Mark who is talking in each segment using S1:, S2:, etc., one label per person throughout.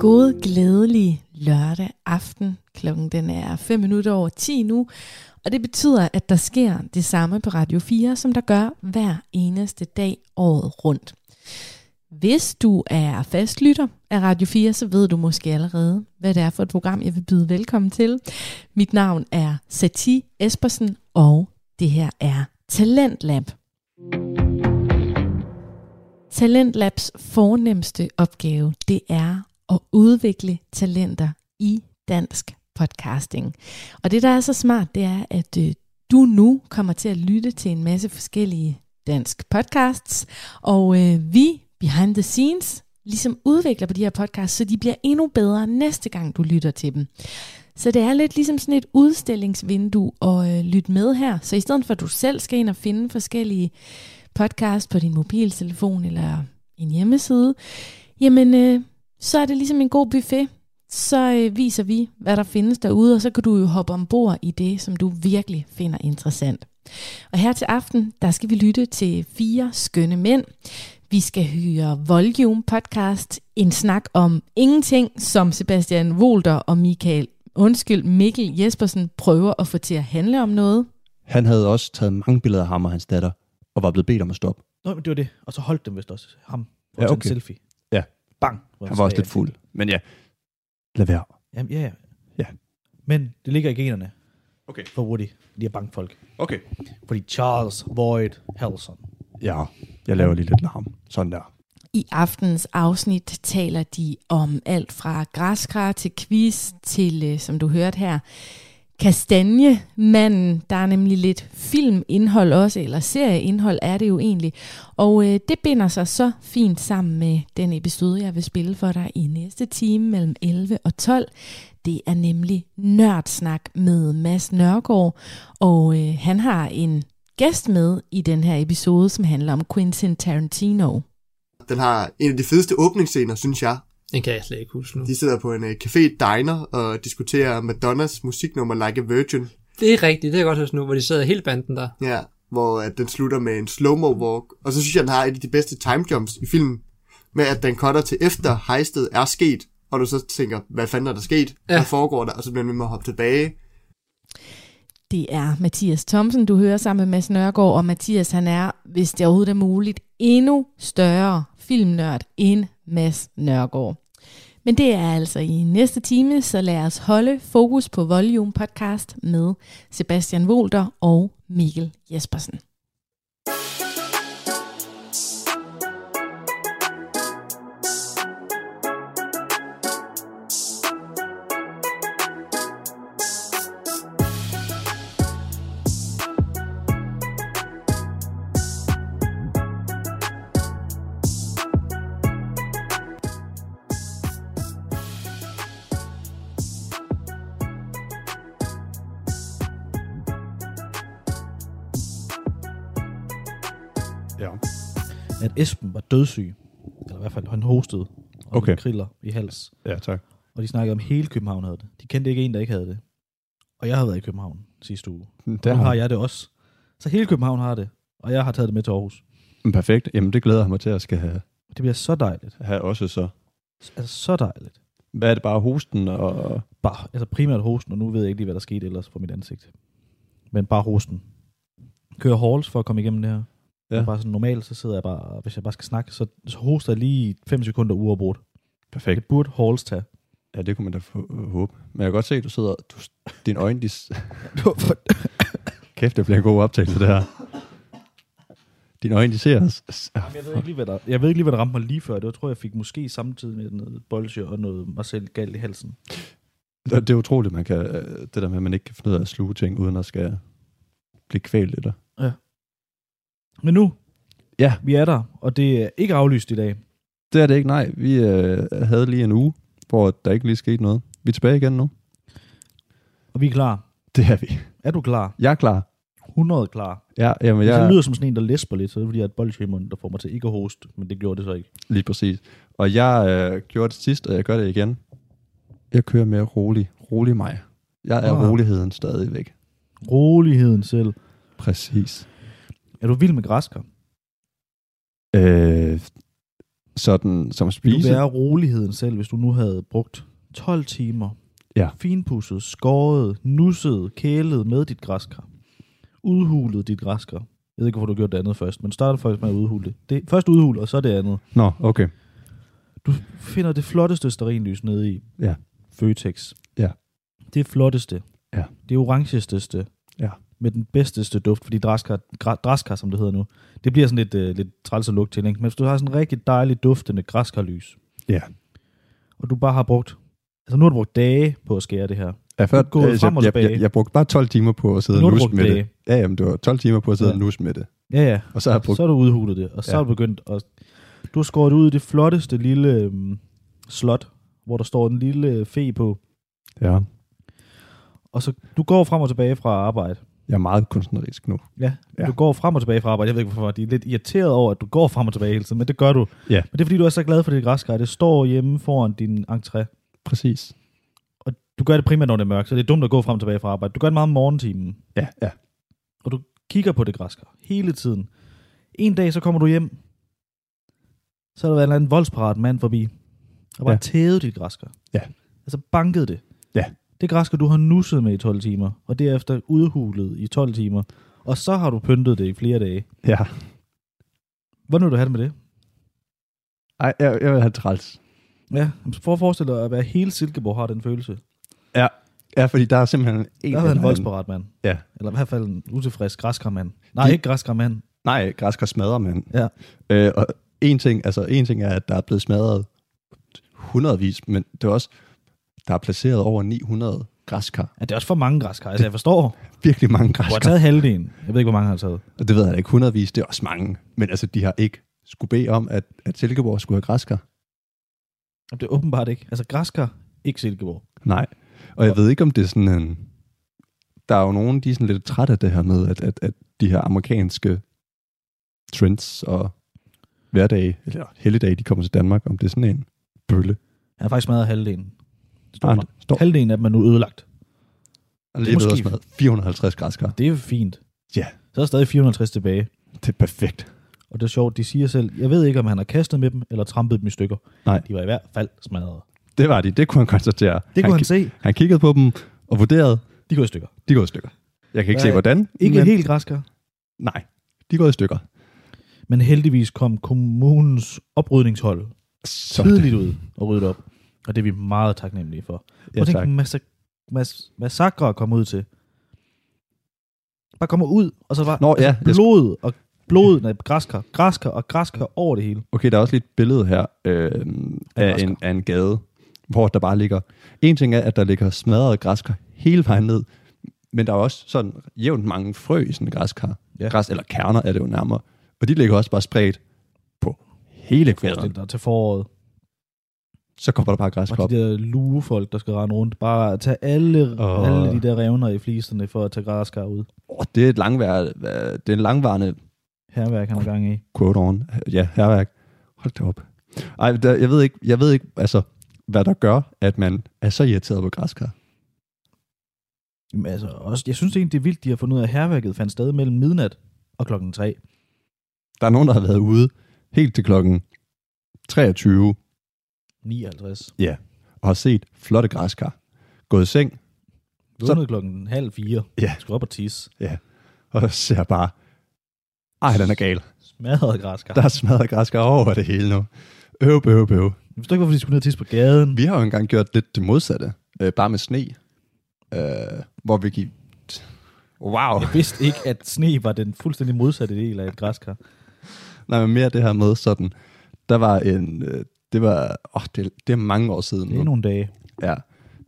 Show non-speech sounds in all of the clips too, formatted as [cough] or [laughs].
S1: God glædelig lørdag aften. Klokken den er 5 minutter over 10 nu, og det betyder, at der sker det samme på Radio 4, som der gør hver eneste dag året rundt. Hvis du er fastlytter af Radio 4, så ved du måske allerede, hvad det er for et program, jeg vil byde velkommen til. Mit navn er Sati Espersen, og det her er Talentlab. Talentlabs fornemmeste opgave, det er at udvikle talenter i dansk podcasting. Og det, der er så smart, det er, at øh, du nu kommer til at lytte til en masse forskellige dansk podcasts, og øh, vi, behind the scenes, ligesom udvikler på de her podcasts, så de bliver endnu bedre næste gang, du lytter til dem. Så det er lidt ligesom sådan et udstillingsvindue at øh, lytte med her. Så i stedet for, at du selv skal ind og finde forskellige podcast på din mobiltelefon eller en hjemmeside, jamen øh, så er det ligesom en god buffet. Så øh, viser vi, hvad der findes derude, og så kan du jo hoppe ombord i det, som du virkelig finder interessant. Og her til aften, der skal vi lytte til fire skønne mænd. Vi skal høre Volume Podcast, en snak om ingenting, som Sebastian Wolter og Michael, undskyld, Mikkel Jespersen prøver at få til at handle om noget.
S2: Han havde også taget mange billeder af ham og hans datter, og var blevet bedt om at stoppe.
S3: Nå, men det var det. Og så holdt dem vist også ham på
S2: Ja,
S3: ja, okay. en
S2: okay.
S3: selfie.
S2: Ja.
S3: Bang. hvor
S2: Han var også
S3: sagde
S2: lidt fuld. Men ja, lad være.
S3: jeg. Jamen, ja, ja.
S2: Ja.
S3: Men det ligger i generne
S2: Okay.
S3: for Woody, de er bankfolk.
S2: Okay.
S3: Fordi Charles Void Halson.
S2: Ja, jeg laver lige lidt larm. Sådan der.
S1: I aftens afsnit taler de om alt fra græskar til quiz til, øh, som du hørte her, kastanjemanden. Der er nemlig lidt filmindhold også, eller serieindhold er det jo egentlig. Og øh, det binder sig så fint sammen med den episode, jeg vil spille for dig i næste time mellem 11 og 12. Det er nemlig Nørdsnak med Mads Nørgaard, og øh, han har en gæst med i den her episode, som handler om Quentin Tarantino.
S4: Den har en af de fedeste åbningsscener, synes jeg.
S5: Den kan jeg slet ikke huske nu.
S4: De sidder på en øh, café diner og diskuterer Madonnas musiknummer Like a Virgin.
S5: Det er rigtigt, det kan jeg godt huske nu, hvor de sad hele banden der.
S4: Ja, hvor at den slutter med en slow-mo walk. Og så synes jeg, den har et af de bedste time jumps i filmen. Med at den cutter til efter hejstet er sket. Og du så tænker, hvad fanden er der sket? Ja.
S5: Ja.
S4: Hvad foregår der? Og så bliver man ved med at hoppe tilbage.
S1: Det er Mathias Thomsen, du hører sammen med Mads Nørgaard, og Mathias han er, hvis det overhovedet er muligt, endnu større filmnørd end Mads Nørgaard. Men det er altså i næste time, så lad os holde fokus på Volume Podcast med Sebastian Wolter og Mikkel Jespersen.
S2: Ja.
S3: At Esben var dødssyg. Eller i hvert fald, han hostede. Og
S2: Okay.
S3: okay. kriller i hals.
S2: Ja, tak.
S3: Og de snakkede om, at hele København havde det. De kendte ikke en, der ikke havde det. Og jeg har været i København sidste uge.
S2: Det
S3: Der
S2: har
S3: har
S2: jeg.
S3: jeg det også. Så hele København har det. Og jeg har taget det med til Aarhus.
S2: Mm, Perfekt. Jamen, det glæder jeg mig til at skal have,
S3: Det bliver så dejligt.
S2: have også så.
S3: Altså så dejligt.
S2: Hvad er det bare hosten og...
S3: Bare, altså primært hosten, og nu ved jeg ikke lige, hvad der skete ellers på mit ansigt. Men bare hosten. Kører halls for at komme igennem det her.
S2: Ja.
S3: Ja. Bare sådan normalt, så sidder jeg bare, hvis jeg bare skal snakke, så, så hoster jeg lige 5 sekunder uafbrudt.
S2: Perfekt.
S3: Det burde halls tage.
S2: Ja, det kunne man da få- øh, håbe. Men jeg kan godt se, at du sidder... Du, dine øjne, de... s- Kæft, det bliver en god optagelse, det her. Dine øjne, de ser os.
S3: jeg, ved ikke lige, hvad der, jeg ved ikke lige, hvad der ramte mig lige før. Det var, tror jeg, jeg fik måske samtidig med noget bolsje og noget mig selv galt i halsen.
S2: Det er utroligt, man kan, øh, det der med, at man ikke kan finde ud af at sluge ting, uden at skal blive kvalt eller.
S3: Men nu,
S2: Ja.
S3: vi er der, og det er ikke aflyst i dag.
S2: Det er det ikke, nej. Vi øh, havde lige en uge, hvor der ikke lige skete noget. Vi er tilbage igen nu.
S3: Og vi er klar.
S2: Det er vi.
S3: Er du klar?
S2: Jeg er klar.
S3: 100 klar.
S2: Ja, jamen,
S3: Hvis jeg
S2: jeg
S3: lyder som sådan en, der læsper lidt, så er det fordi, jeg har et bolsje i munden, der får mig til ikke at hoste. Men det gjorde det så ikke.
S2: lige præcis. Og jeg øh, gjorde det sidst, og jeg gør det igen. Jeg kører mere rolig. Rolig mig. Jeg er
S3: Ah.
S2: roligheden stadigvæk.
S3: Roligheden selv.
S2: Præcis.
S3: Er du vild med græsker?
S2: Øh, sådan, som
S3: Vil du
S2: spise.
S3: være roligheden selv, hvis du nu havde brugt 12 timer
S2: Ja.
S3: finpudset, skåret, nusset, kælet med dit græskar. Udhulet dit græskar. Jeg ved ikke, hvorfor du gjorde det andet først, men start faktisk med at udhule det. det. Først udhul, og så det andet.
S2: Nå, okay.
S3: Du finder det flotteste sterinlys nede i
S2: Ja.
S3: Føtex.
S2: Ja.
S3: Det flotteste.
S2: Ja.
S3: Det orangesteste.
S2: Ja.
S3: Med den bedsteste duft, fordi draskar, gra- draskar, som det hedder nu, det bliver sådan lidt, øh, lidt træls at lugte til, ikke? Men hvis du har sådan en rigtig dejlig duftende græskarlys,
S2: Ja.
S3: og du bare har brugt, altså nu har du brugt dage på at skære det her.
S2: Jeg, før,
S3: Du er gået
S2: altså,
S3: frem og
S2: jeg, jeg,
S3: tilbage.
S2: jeg, brugte bare 12 timer på at sidde
S3: Nu
S2: og
S3: har du
S2: nusse
S3: brugt
S2: med det.
S3: dage.
S2: Ja, jamen, det var 12 timer på at sidde
S3: Ja.
S2: og nusse med det.
S3: Ja, ja.
S2: Og så har jeg brugt
S3: Så er du udhulet det, og så
S2: Ja.
S3: ja. er du begyndt at... Du har skåret ud i det flotteste lille øhm, slot, hvor der står en lille fe på.
S2: Ja,
S3: Og så du går frem og tilbage fra arbejde.
S2: jeg er meget kunstnerisk nu.
S3: Ja,
S2: Ja.
S3: ja. du går frem og tilbage fra arbejde. Jeg ved ikke, hvorfor de er lidt irriteret over, at du går frem og tilbage hele tiden, men det gør du.
S2: Ja.
S3: Men det er, fordi du er så glad for dit græskar. Det står hjemme foran din entré.
S2: Præcis.
S3: Og du gør det primært, når det er mørkt, så det er dumt at gå frem og tilbage fra arbejde. Du gør det meget om morgentimen,
S2: Ja, ja.
S3: og du kigger på det græskar hele tiden. En dag, så kommer du hjem, så har der været en eller anden voldsparat mand forbi, og bare
S2: Ja.
S3: ja. tævet dit græskar.
S2: Ja.
S3: Altså banket det.
S2: Ja.
S3: Det græskar, du har nusset med i 12 timer, og derefter udhulet i 12 timer, og så har du pyntet det i flere dage.
S2: Ja.
S3: Hvordan vil du have det med det?
S2: Ej, jeg, jeg vil have træls.
S3: Ja, for at forestille dig at være hele Silkeborg har den følelse.
S2: Ja, fordi der er simpelthen en...
S3: Der har været en
S2: eller anden-
S3: voldsparat mand.
S2: Ja.
S3: Eller i hvert fald en utilfreds græskarmand. Nej,
S2: De-
S3: ikke græskarmand.
S2: Nej, græskar smadrer man.
S3: Ja.
S2: Øh, og en ting, altså, en ting er, at der er blevet smadret hundredvis, men det er også, der er placeret over 900 græskar.
S3: Ja, det er også for mange græskar. Altså, jeg forstår.
S2: Virkelig mange
S3: Du har
S2: græskar.
S3: taget halvdelen. Jeg ved ikke, hvor mange han har taget.
S2: Og det ved jeg da ikke, hundredvis, det er også mange. Men altså, de har ikke skulle bede om, at, at Silkeborg skulle have græskar.
S3: Jamen, Det er åbenbart ikke. Altså, græskar, ikke Silkeborg.
S2: Nej. Og jeg ved ikke, om det er sådan en... Der er jo nogen, de er sådan lidt trætte af det her med, at, at, at de her amerikanske trends og hverdag, eller helligdag, de kommer til Danmark, om det er sådan en bølle.
S3: Han har faktisk smadret halvdelen. Står
S2: Nej,
S3: der.
S2: Ah, står
S3: Halvdelen af dem er nu ødelagt.
S2: og lidt
S3: måske-
S2: også med 450 græskar.
S3: Det er fint.
S2: Ja.
S3: Så er der stadig 450 tilbage.
S2: Det er perfekt.
S3: Og det er sjovt, de siger selv, jeg ved ikke, om han har kastet med dem, eller trampet dem i stykker.
S2: Nej.
S3: De var i hvert fald smadret.
S2: Det var de, det kunne han konstatere.
S3: Det kunne han,
S2: ki-
S3: se.
S2: han kiggede på dem og vurderede,
S3: De går i stykker.
S2: de går i stykker. Jeg kan ikke se,
S3: Nej.
S2: hvordan.
S3: Ikke
S2: men-
S3: men... helt græskar.
S2: Nej, de går i stykker.
S3: Men heldigvis kom kommunens oprydningshold
S2: Så
S3: tidligt ud og rydde op. Og det er vi meget taknemmelige for.
S2: Ja,
S3: Prøv at
S2: tak.
S3: tænke massa, mas, massakre at komme ud til. Bare kommer ud, og så bare
S2: Nå, ja, jeg sk-
S3: blod og blod, nej, græskar, græskar og græskar over det hele.
S2: Okay, der er også lige et billede her øh, af, en, af en gade, hvor der bare ligger... En ting er, at der ligger smadrede græskar hele vejen ned, men der er også sådan jævnt mange frø i sådan en græskar. Ja.
S3: Ja.
S2: Græs, eller kerner er det jo nærmere. Og de ligger også bare spredt på hele kvæderen.
S3: Forestil dig til foråret.
S2: Så kommer der bare
S3: Og
S2: græskar op.
S3: de der luefolk, der skal rende rundt. Bare tage alle,
S2: Åh.
S3: oh. alle de der revner i fliserne for at tage græskar ud.
S2: Oh, det, er et langvær, øh, det er en langvarende
S3: Herværk han har gang i.
S2: quote on. Ja, herværk. Hold da op. Ej, der, jeg, ved ikke, jeg ved ikke, altså, hvad der gør, at man er så irriteret på græskar.
S3: Jamen, altså, også, jeg synes egentlig, det er vildt, de har fundet ud af, at herværket fandt sted mellem midnat og klokken 3.
S2: Der er nogen, der har været ude helt til klokken 23
S3: 59.
S2: og har set flotte græskar. Gået i seng
S3: Vågnede klokken halv fire.
S2: Ja.
S3: Skulle op og tisse.
S2: og ser bare, ej, den er gal.
S3: Smadret græskar.
S2: Der er smadret græskar over det hele nu. Øv, øv, øv.
S3: Jeg forstår ikke, hvorfor de skulle ned og tisse på gaden.
S2: Vi har jo engang gjort lidt det modsatte. Øh, bare med sne. Øh, hvor vi gik... Wow.
S3: Jeg vidste ikke, at sne var den fuldstændig modsatte del af et græskar.
S2: Nej, men mere det her med sådan... Der var en... Øh, det var... Åh, det, det er mange år siden
S3: Det er
S2: nu.
S3: Mm. nogle dage.
S2: Ja.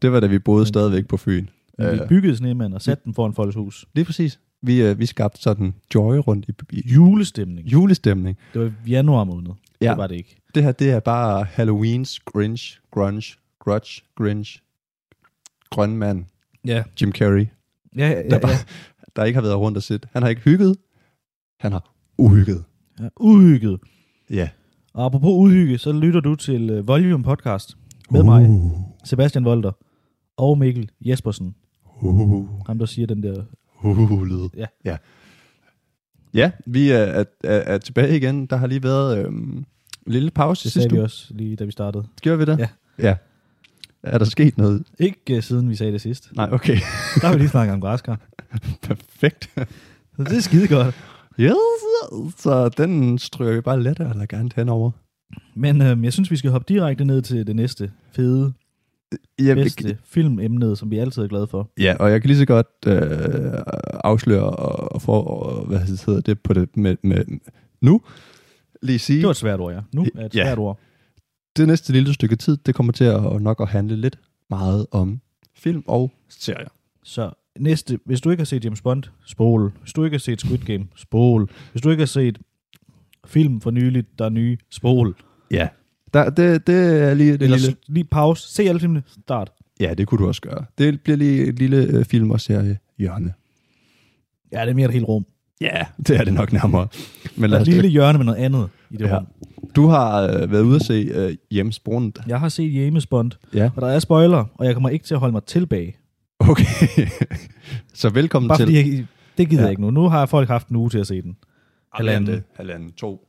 S2: Det var da vi boede stadigvæk på Fyn.
S3: Men vi
S2: Øh.
S3: byggede snemanden og satte den foran folks hus.
S2: Lige præcis. Vi, øh, vi skabte sådan joy rundt i, i
S3: Julestemning.
S2: julestemning.
S3: Det var i januar måned.
S2: Ja.
S3: Det var det ikke.
S2: Det her, det er bare Halloween's Grinch, Grunge, Grudge, Grinch, Grønmand,
S3: Ja.
S2: Jim Carrey,
S3: Ja,
S2: Der
S3: ja, ja.
S2: var-
S3: ja.
S2: der ikke har været rundt og sit. Han har ikke hygget, han har uhygget.
S3: ja. Uhygget.
S2: Ja.
S3: Og apropos uhygge, så lytter du til øh, Volume Podcast med uh. mig,
S2: Uh,
S3: Sebastian Volter og Mikkel Jespersen.
S2: uh,
S3: Ham, der siger den der...
S2: uh, lyd.
S3: Ja.
S2: ja. Ja, vi er, er, er, er tilbage igen. Der har lige været øhm, lille pause
S3: Det
S2: det
S3: sagde
S2: sidste
S3: vi
S2: uge.
S3: også lige da vi startede.
S2: Gjorde vi det?
S3: Ja.
S2: ja. Er der sket noget?
S3: Ikke uh, siden vi sagde det sidst.
S2: Nej, okay. [laughs]
S3: Der har vi lige snakket om græskar.
S2: Perfekt.
S3: Så det er skide godt.
S2: Yes. Så den stryger vi bare let og elegant henover.
S3: Men øhm, jeg synes, vi skal hoppe direkte ned til det næste fede,
S2: Ja, vi-
S3: bedste filmemne, som vi altid er glade for.
S2: ja, og jeg kan lige så godt øh, afsløre og, og få, og, hvad hedder det, på det med, med nu. Lige sige,
S3: Det var et svært ord, ja. Nu er et
S2: Ja.
S3: svært ord.
S2: det næste lille stykke tid, det kommer til at nok at handle lidt meget om film og serier.
S3: Så næste, hvis du ikke har set James Bond, spol. Hvis du ikke har set Squid Game, spol. Hvis du ikke har set film for nyligt, der er nye, spol.
S2: Ja. Der, det, det er lige det lille...
S3: Eller lille. lige pause, se alle filmene, start.
S2: Ja, det kunne du også gøre. Det bliver lige et lille øh, film- og serie hjørne.
S3: Ja, det er mere et helt rum.
S2: Ja, det er det nok nærmere. Men
S3: Der er
S2: lad os
S3: et lille hjørne med noget andet i det ja.
S2: Ja.
S3: rum.
S2: Du har øh, været ude at se øh, James Bond.
S3: Jeg har set James Bond,
S2: Ja.
S3: og der er spoiler, og jeg kommer ikke til at holde mig tilbage.
S2: Okay. [laughs] så velkommen
S3: Bare
S2: til...
S3: fordi jeg, det gider ja.
S2: Ja.
S3: jeg ikke nu. Nu har folk haft en uge til at se den. halvanden.
S2: halvanden, to.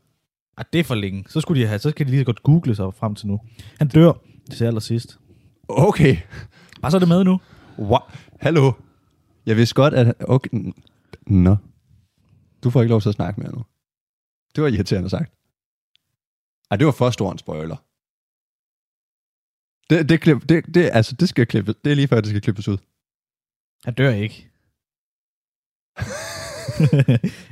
S3: Ah, det er for længe. Så, skulle de have, så skal de lige så godt google sig frem til nu. Han dør til allersidst.
S2: Okay.
S3: Bare så er det med nu.
S2: Wow. Hallo. Jeg vidste godt, at... Okay. n- Nå. Du får ikke lov til at snakke mere nu. Det var irriterende sagt. Ej, det var for stor en spoiler. Det, det, klip, det, det, altså, det skal klippes. Det er lige før, det skal klippes ud.
S3: Han dør ikke. [laughs]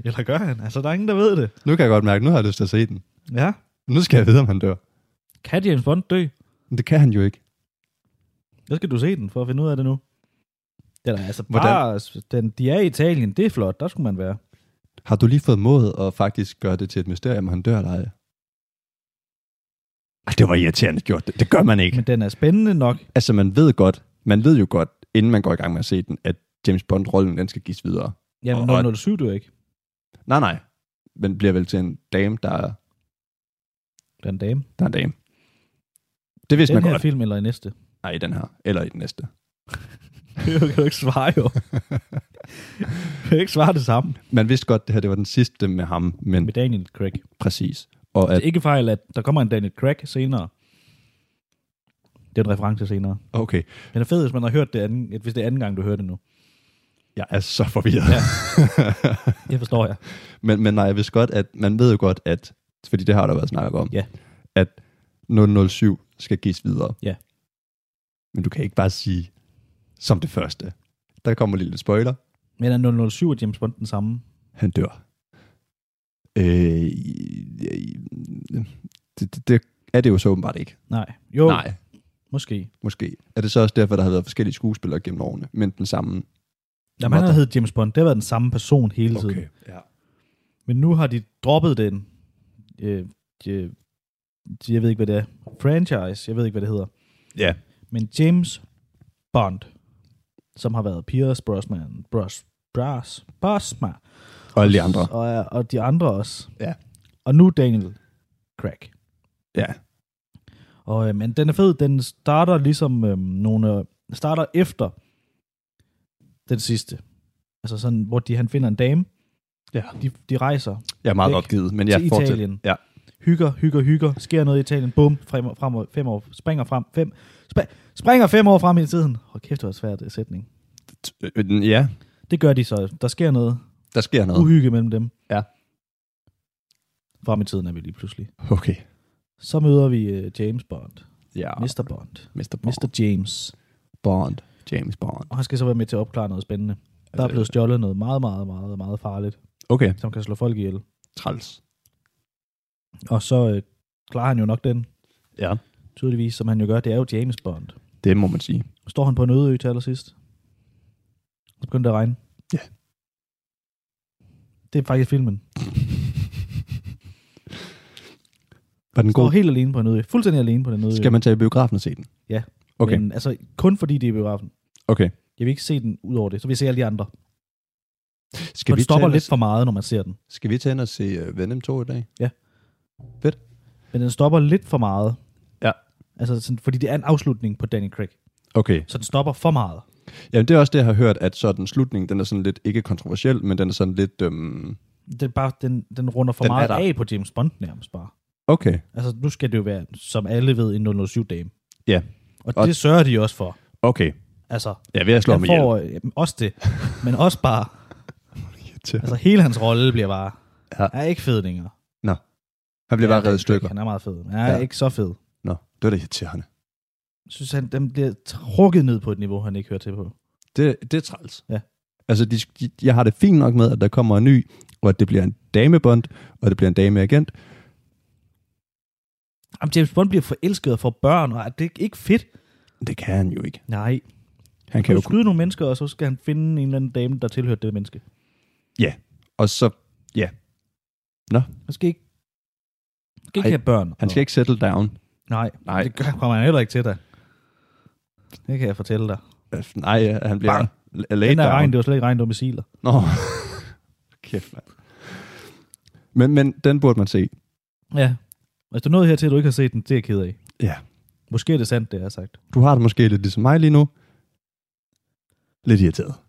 S3: Eller gør han? Altså, der er ingen, der ved det.
S2: Nu kan jeg godt mærke, nu har jeg lyst til at se den.
S3: Ja.
S2: Nu skal jeg vide, om han dør.
S3: Kan James Bond dø?
S2: Men det kan han jo ikke.
S3: Der skal du se den, for at finde ud af det nu. Det er da altså
S2: Hvordan?
S3: bare... Den, de er i Italien, det er flot. Der skulle man være.
S2: Har du lige fået mod at faktisk gøre det til et mysterium, om han dør eller ej? Ej, det var irriterende gjort. Det, det gør man ikke.
S3: Men den er spændende nok.
S2: Altså, man ved godt, man ved jo godt, inden man går i gang med at se den, at James Bond-rollen, den skal gives videre.
S3: Jamen,
S2: Og-
S3: 007 dør ikke.
S2: Nej, nej. Men bliver vel til en dame, der er,
S3: Den er en dame.
S2: der er en dame. Det vidste man
S3: den her
S2: godt.
S3: film eller i næste? [laughs]
S2: Nej, i den her. Eller i den næste.
S3: det kan du ikke svare jo. du kan ikke svare det samme
S2: Man vidste godt, det her det var den sidste med ham, men
S3: med Daniel Craig.
S2: præcis. Og
S3: Det
S2: at,
S3: er ikke fejl, at der kommer en Daniel Craig senere. Det er en reference senere.
S2: okay,
S3: Den er fed, hvis man har hørt det anden, at hvis det er anden gang, du hører det nu.
S2: jeg er så forvirret.
S3: Ja.
S2: [laughs]
S3: Det forstår jeg.
S2: Men, men nej, jeg vidste godt, at man ved jo godt, at, fordi det har der været snakket om,
S3: Ja.
S2: at 007 skal gives videre.
S3: Ja.
S2: Men du kan ikke bare sige, som det første. Der kommer lige lidt spoiler.
S3: Men er 007 og James Bond den samme?
S2: Han dør. Øh, øh, det, det, det er det jo så åbenbart ikke.
S3: Nej. Jo, Nej.
S2: Nej,
S3: måske.
S2: måske. Er det så også derfor, der har været forskellige skuespillere gennem årene, men den samme?
S3: Jamen, han har heddet James Bond. Det har været den samme person hele tiden.
S2: Okay, ja.
S3: Men nu har de droppet den. Øh, øh, jeg ved ikke, hvad det er. Franchise. Jeg ved ikke, hvad det hedder.
S2: Ja,
S3: Men James Bond, som har været Pierce Brosnan, Bros, Bros, Brosnan,
S2: og alle de andre.
S3: Og, er- og de andre også.
S2: Ja.
S3: Og nu Daniel Craig.
S2: Ja.
S3: Og, øh, men den er fed. Den starter ligesom øh, nogle... Øh, starter efter den sidste. Altså sådan, hvor de, han finder en dame.
S2: Ja.
S3: De, de rejser,
S2: Jeg er meget
S3: Væk
S2: opgivet, men
S3: til
S2: jeg fortsætter.
S3: Italien.
S2: Ja.
S3: hygger, hygger, hygger, sker noget i Italien, bum, frem, og- frem, og- fem år, springer frem, fem, sp- springer fem år frem i tiden. Hold kæft, det var en svær øh, sætning.
S2: Øh, Ja,
S3: Det gør de så. Der sker noget
S2: der sker noget.
S3: uhygge mellem dem.
S2: Ja.
S3: Frem i tiden er vi lige pludselig.
S2: Okay.
S3: Så møder vi øh, James Bond.
S2: Ja.
S3: Mr. Bond.
S2: Mr. Bond.
S3: Mr. James.
S2: Bond. James Bond.
S3: Og han skal så være med til at opklare noget spændende. Der er
S2: Altså-
S3: blevet stjålet noget meget, meget, meget, meget farligt,
S2: Okay.
S3: som kan slå folk ihjel.
S2: Træls.
S3: Og så øh, klarer han jo nok den,
S2: Ja.
S3: tydeligvis, som han jo gør. Det er jo James Bond.
S2: Det må man sige.
S3: Står han på en øde ø til allersidst? Så begyndte det at regne.
S2: Ja.
S3: Det er faktisk filmen.
S2: [laughs] Var den
S3: Går
S2: god?
S3: helt alene på en øde ø. Fuldstændig alene på den øde ø.
S2: Skal man tage i biografen og se den?
S3: Ja.
S2: Okay,
S3: Men, altså, kun fordi det er i biografen.
S2: okay.
S3: Jeg vil ikke se den ud over det. Så vil jeg se alle de andre.
S2: Skal
S3: For den
S2: tage
S3: stopper
S2: ind
S3: lidt
S2: og,
S3: for meget, når man ser den.
S2: Skal vi tage ind og se uh, Venom 2 i dag?
S3: Men den stopper lidt for meget.
S2: Ja.
S3: Altså, sådan, fordi det er en afslutning på Danny Craig.
S2: Okay.
S3: Så den stopper for meget.
S2: Jamen, det er også det, jeg har hørt, at sådan slutningen, den er sådan lidt, ikke kontroversiel, men den er sådan lidt, øhm,
S3: Det er bare, den, den runder for
S2: Den er
S3: meget
S2: der.
S3: af på James Bond nærmest bare.
S2: Okay.
S3: Altså, nu skal det jo være, som alle ved, en 007-dame.
S2: Ja.
S3: Og,
S2: Og-
S3: og det sørger de også for.
S2: Okay.
S3: Altså,
S2: Ja, ved at slå ham
S3: han
S2: ihjel. [laughs]
S3: får øh, jamen, også det, men også bare, altså hele hans rolle bliver bare,
S2: Ja.
S3: ja. er ikke fed længere.
S2: Han bliver
S3: Ja,
S2: bare
S3: det-
S2: reddet i stykker.
S3: Han er meget fed. Ja,
S2: Ja.
S3: ja. ikke så fed.
S2: Nå, det var da irriterende.
S3: Jeg synes, han den bliver trukket ned på et niveau, han ikke hører til på.
S2: Det, det er træls.
S3: Ja.
S2: Altså, de, de, jeg har det fint nok med, at der kommer en ny, og at det bliver en damebond, og det bliver en dameagent.
S3: Jamen, James Bond bliver forelsket og får børn, og er det ikke- ikke fedt?
S2: Det kan han jo ikke.
S3: Nej.
S2: Han
S3: Kan
S2: kan
S3: du
S2: jo...
S3: skyde nogle mennesker, og så skal han finde en eller anden dame, der tilhører det menneske.
S2: Og så...
S3: Han skal ikke, han skal ikke
S2: Ej,
S3: have børn.
S2: Han skal ikke settle down.
S3: Nej,
S2: Nej.
S3: det gør, kommer han heller ikke til dig. Det kan jeg fortælle dig.
S2: Øh, Nej, ja, han bliver...
S3: Bang.
S2: l- Laid
S3: Den der regn,
S2: down.
S3: det var slet ikke regn, det var missiler.
S2: Nå. [laughs] Kæft, mand. Men, men den burde man se.
S3: Ja. Hvis du nåede hertil, at du ikke har set den, det er jeg ked af.
S2: Ja.
S3: Måske er det sandt, det jeg har sagt.
S2: Du har det måske lidt ligesom mig lige nu. Lidt irriteret. [laughs]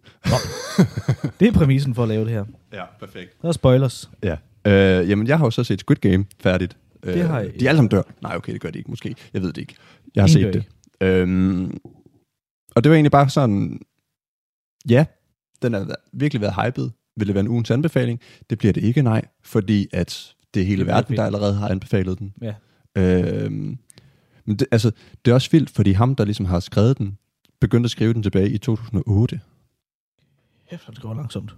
S3: Det er præmissen for at lave det her.
S2: Ja, perfekt.
S3: Der er spoilers.
S2: Ja. Øh, jamen, jeg har jo så set Squid Game færdigt. Øh,
S3: Det har jeg
S2: De
S3: ikke.
S2: alle sammen dør. Nej, okay, det gør de ikke, måske. Jeg ved det ikke. Jeg har
S3: Ingen
S2: set
S3: dør
S2: det. Øhm, og det var egentlig bare sådan, ja, den har været- virkelig været hyped. Vil det være en ugens anbefaling? Det bliver det ikke, nej. Fordi at det er hele
S3: Det er
S2: verden,
S3: fedt.
S2: der allerede har anbefalet den.
S3: Ja.
S2: Øhm, men det, altså, det er også vildt, fordi ham, der ligesom har skrevet den, begyndte at skrive den tilbage i 2008.
S3: Hæft, det går langsomt.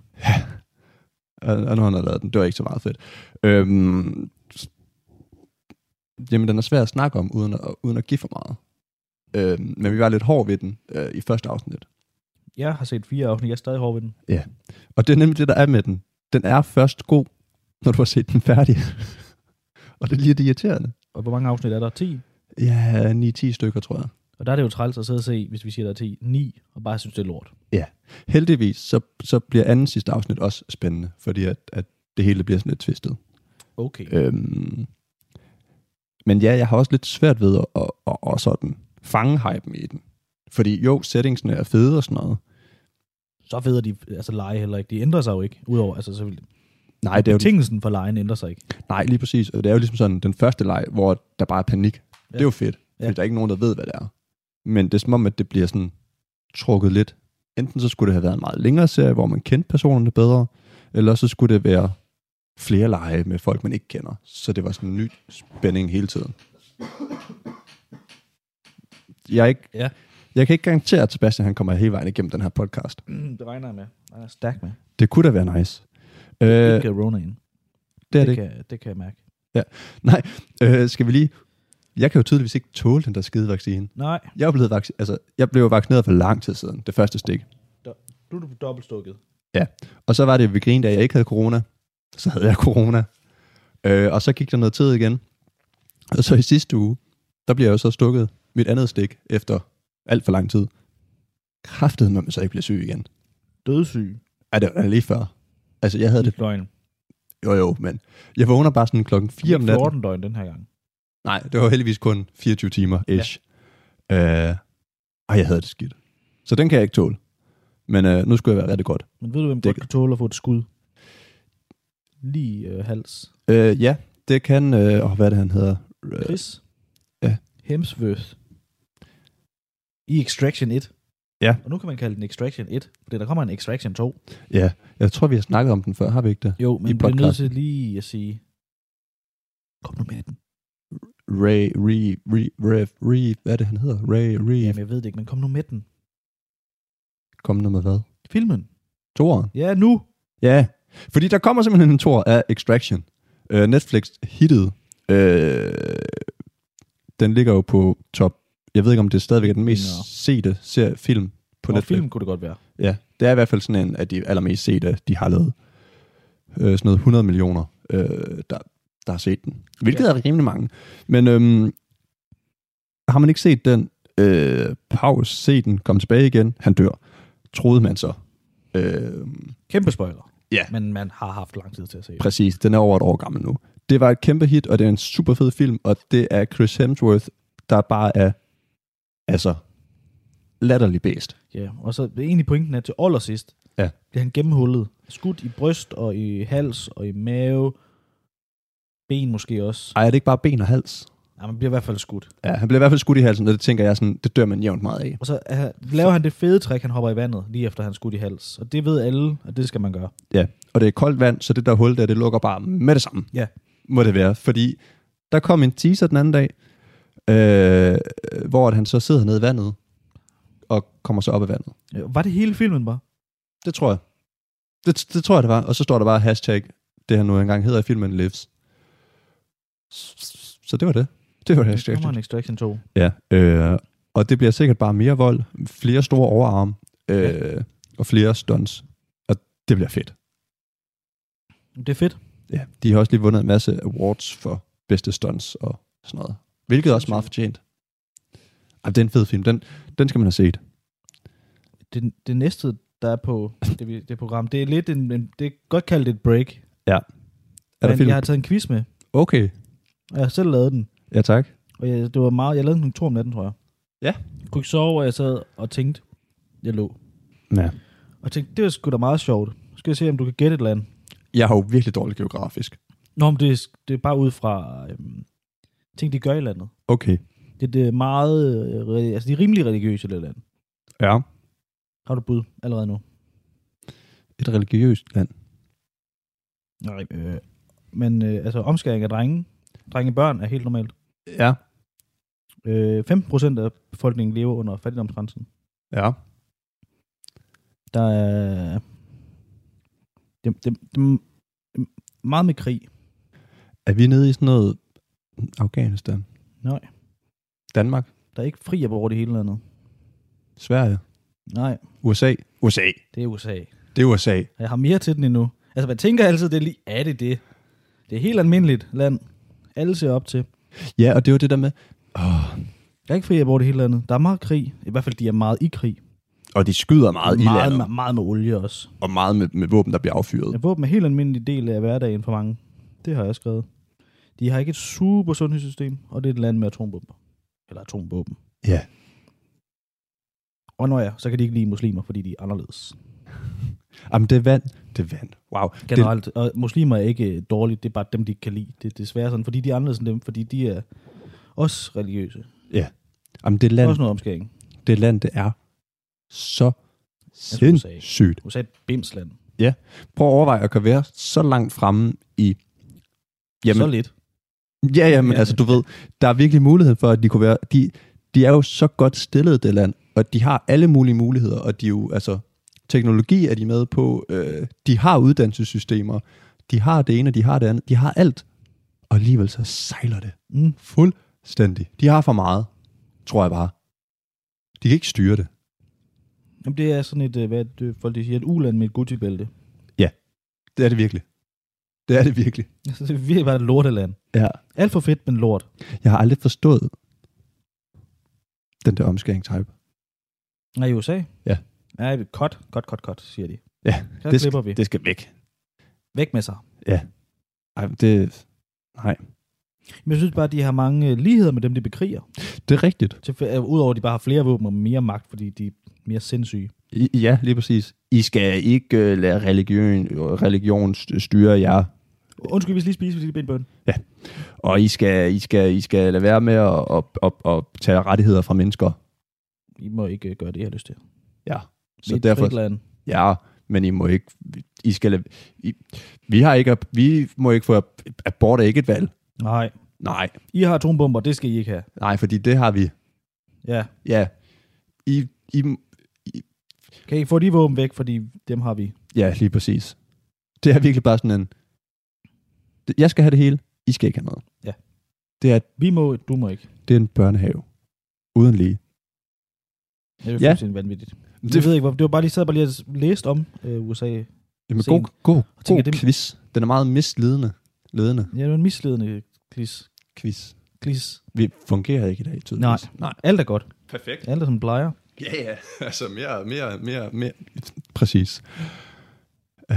S2: Og, og når han har lavet den, det var ikke så meget fedt. Øhm, s- jamen, den er svær at snakke om, uden at, uden at give for meget. Øhm, men vi var lidt hård ved den øh, i første afsnit.
S3: Jeg har set fire afsnit, jeg er stadig hård ved den.
S2: Og det er nemlig det, der er med den. Den er først god, når du har set den færdig. [laughs] og det er lige det irriterende.
S3: Og hvor mange afsnit er der? 10?
S2: Ja, 9-10 stykker, tror jeg.
S3: Og der er det jo træls at sidde og se, hvis vi siger, der er 10, 9, og bare synes, det er lort.
S2: Heldigvis, så, så bliver anden sidste afsnit også spændende, fordi at, at det hele bliver sådan lidt tvistet.
S3: Okay.
S2: Øhm, men ja, jeg har også lidt svært ved at, at, at, at sådan fange hypen i den. Fordi jo, settingsene er fede og sådan noget.
S3: Så ved de altså lege heller ikke. De ændrer sig jo ikke, udover, altså selvfølgelig.
S2: Nej, det er jo,
S3: Betingelsen for lejen ændrer sig ikke.
S2: nej, lige præcis. Og det er jo ligesom sådan den første leg, hvor der bare er panik. Ja. Det er jo fedt, fordi
S3: Ja.
S2: der er ikke nogen, der ved, hvad det er. Men det er som om, at det bliver sådan trukket lidt. Enten så skulle det have været en meget længere serie, hvor man kendte personerne bedre, eller så skulle det være flere lege med folk, man ikke kender. Så det var sådan en ny spænding hele tiden. Jeg, er ikke,
S3: Ja.
S2: jeg kan ikke garantere, at Sebastian han kommer hele vejen igennem den her podcast.
S3: Mm, Det regner jeg med. Jeg er stærk med.
S2: Det kunne da være nice. Øh,
S3: Øh,
S2: det,
S3: ikke Rona ind.
S2: det er det
S3: det,
S2: ikke.
S3: kan, det kan jeg mærke.
S2: Øh, skal vi lige... Jeg kan jo tydeligvis ikke tåle den der skide vaccine.
S3: Nej,
S2: Jeg, er blevet vac- altså, jeg blev vaccineret for lang tid siden, det første stik.
S3: du er dobbeltstukket.
S2: Og så var det, vi grinede, at jeg ikke havde corona. Så havde jeg corona. Øh, og så gik der noget tid igen. Og så i sidste uge, der bliver jeg jo så stukket mit andet stik efter alt for lang tid. Kræftede mig, men så ikke blev syg igen.
S3: Dødssyg.
S2: Ja, det var da lige før. Altså, jeg havde
S3: I
S2: det...
S3: døgn.
S2: Jo, jo, men... Jeg vågner bare sådan klokken 4 om natten.
S3: 14 døgn den her gang.
S2: Nej, det var heldigvis kun 24 timer ish. Ja. Øh, og jeg havde det skidt. Så den kan jeg ikke tåle. Men øh, nu skulle jeg være rigtig godt.
S3: Men ved du, hvem
S2: Det
S3: det godt kan tåle at få et skud? Lige øh, hals.
S2: Øh, ja, det kan... Øh, åh, hvad er det, han hedder? Øh,
S3: Chris.
S2: Ja.
S3: Hemsworth. I Extraction 1.
S2: Ja.
S3: Og nu kan man kalde den Extraction 1, fordi der kommer en Extraction 2.
S2: ja, jeg tror, vi har snakket om den før, har vi ikke det?
S3: Jo, men
S2: I
S3: vi bliver nødt
S2: podcasten.
S3: til lige at sige... Kom nu med den.
S2: Ray, Re, Re, Re, Re, hvad er det, han hedder? Ray, Re,
S3: Jamen, jeg ved det ikke, men kom nu med den.
S2: kom nu med hvad?
S3: Filmen.
S2: Toren?
S3: Ja, nu.
S2: Ja, fordi der kommer simpelthen en tor af Extraction. Øh, Netflix hittede. Øh, den ligger jo på top. Jeg ved ikke, om det stadigvæk er den mest
S3: Nå.
S2: sete serie, film på
S3: På Nå,
S2: Netflix.
S3: film kunne det godt være.
S2: Ja, det er i hvert fald sådan en af de allermest sete, de har lavet. Øh, sådan noget 100 millioner, øh, der, der har set den. Hvilket
S3: Ja.
S2: er rimelig mange. Men øhm, har man ikke set den, øh, pause, se den, kom tilbage igen, han dør. Troede man så. Øh,
S3: Kæmpe spoiler.
S2: Ja.
S3: Men man har haft lang tid til at se det.
S2: præcis, den er over et år gammel nu. Det var et kæmpe hit, og det er en super fed film, og det er Chris Hemsworth, der bare er, altså, latterlig bedst.
S3: Ja, og så det er egentlig pointen er til allersidst,
S2: Ja.
S3: bliver han gennemhullet. Skudt i bryst og i hals og i mave Ben måske også.
S2: Ej, er det ikke bare ben og hals?
S3: Nej, man bliver i hvert fald skudt.
S2: Ja, han bliver i hvert fald skudt i halsen, og det tænker jeg sådan, det dør man jævnt meget af.
S3: Og så øh, laver han det fede trick, han hopper i vandet, lige efter han er skudt i hals. Og det ved alle, at det skal man gøre.
S2: Ja, og det er koldt vand, så det der hul der, det lukker bare med det samme.
S3: Ja.
S2: Må det være, fordi der kom en teaser den anden dag, øh, hvor at han så sidder nede i vandet, og kommer så op af vandet.
S3: Ja, Øh, Var det hele filmen bare?
S2: Det tror jeg. Det, det tror jeg, det var. Og så står der bare hashtag, det han nu engang hedder i filmen Lives. Så det var det. Det var det
S3: Så
S2: hashtag.
S3: kommer en Extraction 2.
S2: Ja, øh, og det bliver sikkert bare mere vold, flere store overarme øh, og flere stunts. Og det bliver fedt.
S3: Det er fedt.
S2: Ja, de har også lige vundet en masse awards for bedste stunts og sådan noget. Hvilket er også meget fortjent. Ej, det er en fed film. Den, den skal man have set.
S3: Det, det næste, der er på det, vi- det program, det er lidt en, en, det er godt kaldt et break.
S2: Er der
S3: men
S2: film?
S3: jeg har taget en quiz med,
S2: Okay.
S3: og jeg har selv lavet den.
S2: Ja, tak.
S3: Og jeg, det var meget, jeg lavede den to om natten, tror jeg.
S2: Ja.
S3: Jeg kunne ikke sove, og jeg sad og tænkte, jeg lå.
S2: Ja.
S3: Og tænkte, det var sgu da meget sjovt. Skal jeg se, om du kan gætte et eller andet.
S2: Jeg har jo virkelig dårligt geografisk.
S3: Nå, men det, er- det er bare ud fra øhm, ting, de gør i landet.
S2: Okay.
S3: Det, det er meget, øh, re- altså de er rimelig religiøse i det land.
S2: Ja.
S3: Har du et bud allerede nu?
S2: Et religiøst land.
S3: Nej. Øh, men øh, altså omskæring af drenge, drengebørn er helt normalt.
S2: Ja.
S3: Øh, 15 procent af befolkningen lever under fattigdomsgrænsen.
S2: Ja.
S3: Der er det, det, det, meget med krig.
S2: Er vi nede i sådan noget Afghanistan?
S3: Nej.
S2: Danmark?
S3: Der er ikke fri abort over det hele landet.
S2: Sverige?
S3: Nej,
S2: USA? USA.
S3: det er USA.
S2: Det er USA.
S3: Og Jeg har mere til den endnu. Altså, man tænker altid, det er lige, er det det? Det er helt almindeligt land. Alle ser op til.
S2: Ja, og det var det der med... Åh,
S3: Der er ikke fri abort i hele landet. Der er meget krig. I hvert fald, de er meget i krig.
S2: og de skyder meget, i
S3: meget,
S2: landet,
S3: meget, meget med olie også.
S2: og meget med, med våben, der bliver affyret.
S3: Ja, våben er en helt almindelig del af hverdagen for mange. Det har jeg skrevet. De har ikke et super sundhedssystem, og det er et land med atombomber. Eller atomvåben.
S2: Ja.
S3: Og når ja, så kan de ikke lide muslimer, fordi de er anderledes.
S2: Jamen, det er vand. Det er vand. Wow. Det,
S3: Generelt. Og muslimer er ikke øh, dårlige, det er bare dem, de ikke kan lide. Det er desværre sådan, fordi de er anderledes end dem, fordi de er også religiøse.
S2: jamen, det
S3: Land.
S2: land,
S3: Også noget omskæring.
S2: det land, det er så
S3: som du sagde.
S2: sindssygt.
S3: USA er et bimsland.
S2: Prøv at overveje at kunne være så langt fremme i...
S3: Jamen. Så lidt.
S2: Ja, ja, men altså, du ved, der er virkelig mulighed for, at de kunne være... De, de er jo så godt stillet, det land, og de har alle mulige muligheder, og de er jo, altså, teknologi er de med på, øh, de har uddannelsessystemer, de har det ene, og de har det andet, de har alt, og alligevel så sejler det
S3: Mm.
S2: fuldstændig. De har for meget, tror jeg bare. De kan ikke styre det.
S3: Jamen, det er sådan et, øh, hvad er det, folk de siger, et uland med et Gucci-bælte. [laughs]
S2: Det er det virkelig. Det er det virkelig.
S3: Altså, det er virkelig bare et lorteland.
S2: Ja.
S3: Alt for fedt, men lort.
S2: Jeg har aldrig forstået den der omskæring-type.
S3: Nej, i USA?
S2: Ja.
S3: Nej, vi- cut, cut, cut, cut, siger de.
S2: Ja,
S3: Så
S2: det
S3: det
S2: skal-
S3: slipper vi. Det.
S2: Det skal væk.
S3: Væk med sig.
S2: Ej, det... Nej.
S3: Men jeg synes bare, at de har mange øh, ligheder med dem, de bekriger.
S2: Det er rigtigt.
S3: Til, øh, Udover at de bare har flere våben og mere magt, fordi de er mere sindssyge.
S2: I, ja, lige præcis. I skal ikke øh, lade religion, religion st- styre jer,
S3: Undskyld, vi skal lige spise, fordi det er benbøn.
S2: og I skal, I skal, I skal lade være med at, at, at, at tage rettigheder fra mennesker.
S3: I må ikke øh, gøre det, jeg har lyst til.
S2: Ja,
S3: Vi er
S2: så
S3: et
S2: derfor,
S3: frit land.
S2: ja, men I må ikke, I skal, lade- I, vi har ikke, vi må ikke få, abort er ikke et valg.
S3: Nej.
S2: Nej,
S3: I har atombomber, det skal I ikke have.
S2: nej, fordi det har vi.
S3: Ja.
S2: Ja, I, I,
S3: Kan I få de våben væk, fordi dem har vi.
S2: ja, lige præcis. Det er virkelig bare sådan en, jeg skal have det hele, I skal ikke have noget.
S3: Ja.
S2: Det er,
S3: Vi må, du må ikke.
S2: det er en børnehave. Uden lige.
S3: Det er jo
S2: Ja.
S3: ja. fuldstændig vanvittigt. Det, jeg ved ikke, hvorfor. Det var bare lige, sad bare lige og læste om øh, USA.
S2: Jamen, god,
S3: sent.
S2: god, god
S3: tænker, det-
S2: quiz. Den er meget misledende. Ledende
S3: Ja, det var en misledende klis.
S2: quiz.
S3: klis.
S2: Vi fungerer ikke i dag, tydeligvis. Nej. Nej.
S3: Alt er godt.
S2: Perfekt.
S3: Alt er som plejer.
S2: Ja, ja. [laughs] Altså, mere, mere, mere, mere. Præcis. Øh,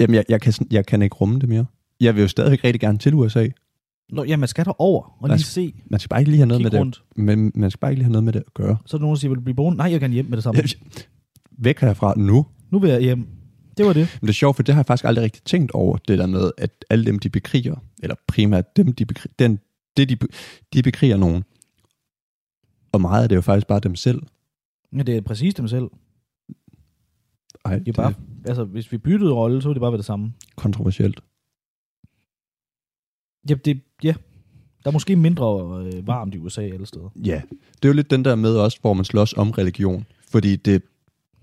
S2: jamen, jeg, jeg, kan, sådan- jeg kan ikke rumme det mere. Jeg vil jo stadigvæk rigtig gerne til USA.
S3: Nå, ja, man skal derover og lige
S2: Altså,
S3: se.
S2: Man skal bare ikke lige have noget
S3: Kigge
S2: med
S3: rundt.
S2: det. Men man skal bare ikke lige have noget med det at gøre.
S3: Så er der nogen, der siger, vil du blive boende? Nej, jeg kan hjem med det samme.
S2: Væk herfra nu.
S3: Nu vil jeg hjem. Det var det.
S2: Men det er sjovt, for det har jeg faktisk aldrig rigtig tænkt over, det der med, at alle dem, de bekriger, eller primært dem, de bekriger, den, det, de, be- de bekriger nogen. Og meget af det er jo faktisk bare dem selv.
S3: Ja, det er præcis dem selv.
S2: Ej,
S3: Det er bare, altså, hvis vi byttede rolle, så ville det bare være det samme.
S2: kontroversielt.
S3: Ja, det, ja. der er måske mindre øh, varmt i USA alle steder.
S2: Ja, det er jo lidt den der med også, hvor man slås om religion. Fordi det,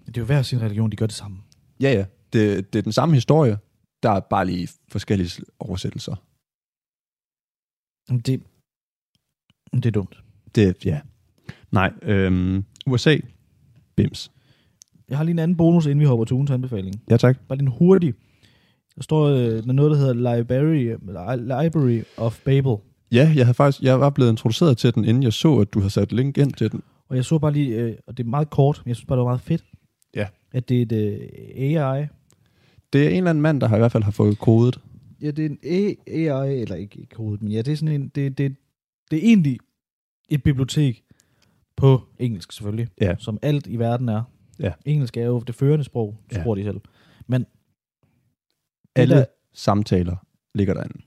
S3: Det er jo hver sin religion, de gør det samme.
S2: ja, ja, det, det er den samme historie, der er bare lige forskellige sl- oversættelser.
S3: Jamen, Det, det er dumt.
S2: Det, ja. Nej, øhm, USA, bims.
S3: Jeg har lige en anden bonus, inden vi hopper til ugens anbefaling.
S2: Ja tak.
S3: Bare lige en hurtig. Der står øh, der er noget, der hedder Library, Li- Library of Babel.
S2: Ja, jeg, havde faktisk, jeg var blevet introduceret til den, inden jeg så, at du havde sat link ind til den.
S3: Og jeg så bare lige, øh, og det er meget kort, men jeg synes bare, det var meget fedt.
S2: Ja.
S3: At det er et øh, AI.
S2: Det er en eller anden mand, der har i hvert fald har fået kodet.
S3: Ja, det er en A- AI, eller ikke, ikke hovedet, men ja, det er sådan en, det, det, det er egentlig et bibliotek på engelsk selvfølgelig,
S2: Ja.
S3: som alt i verden er.
S2: Ja.
S3: Engelsk er jo det førende sprog,
S2: Ja.
S3: tror de selv.
S2: Alle
S3: der-
S2: samtaler ligger derinde.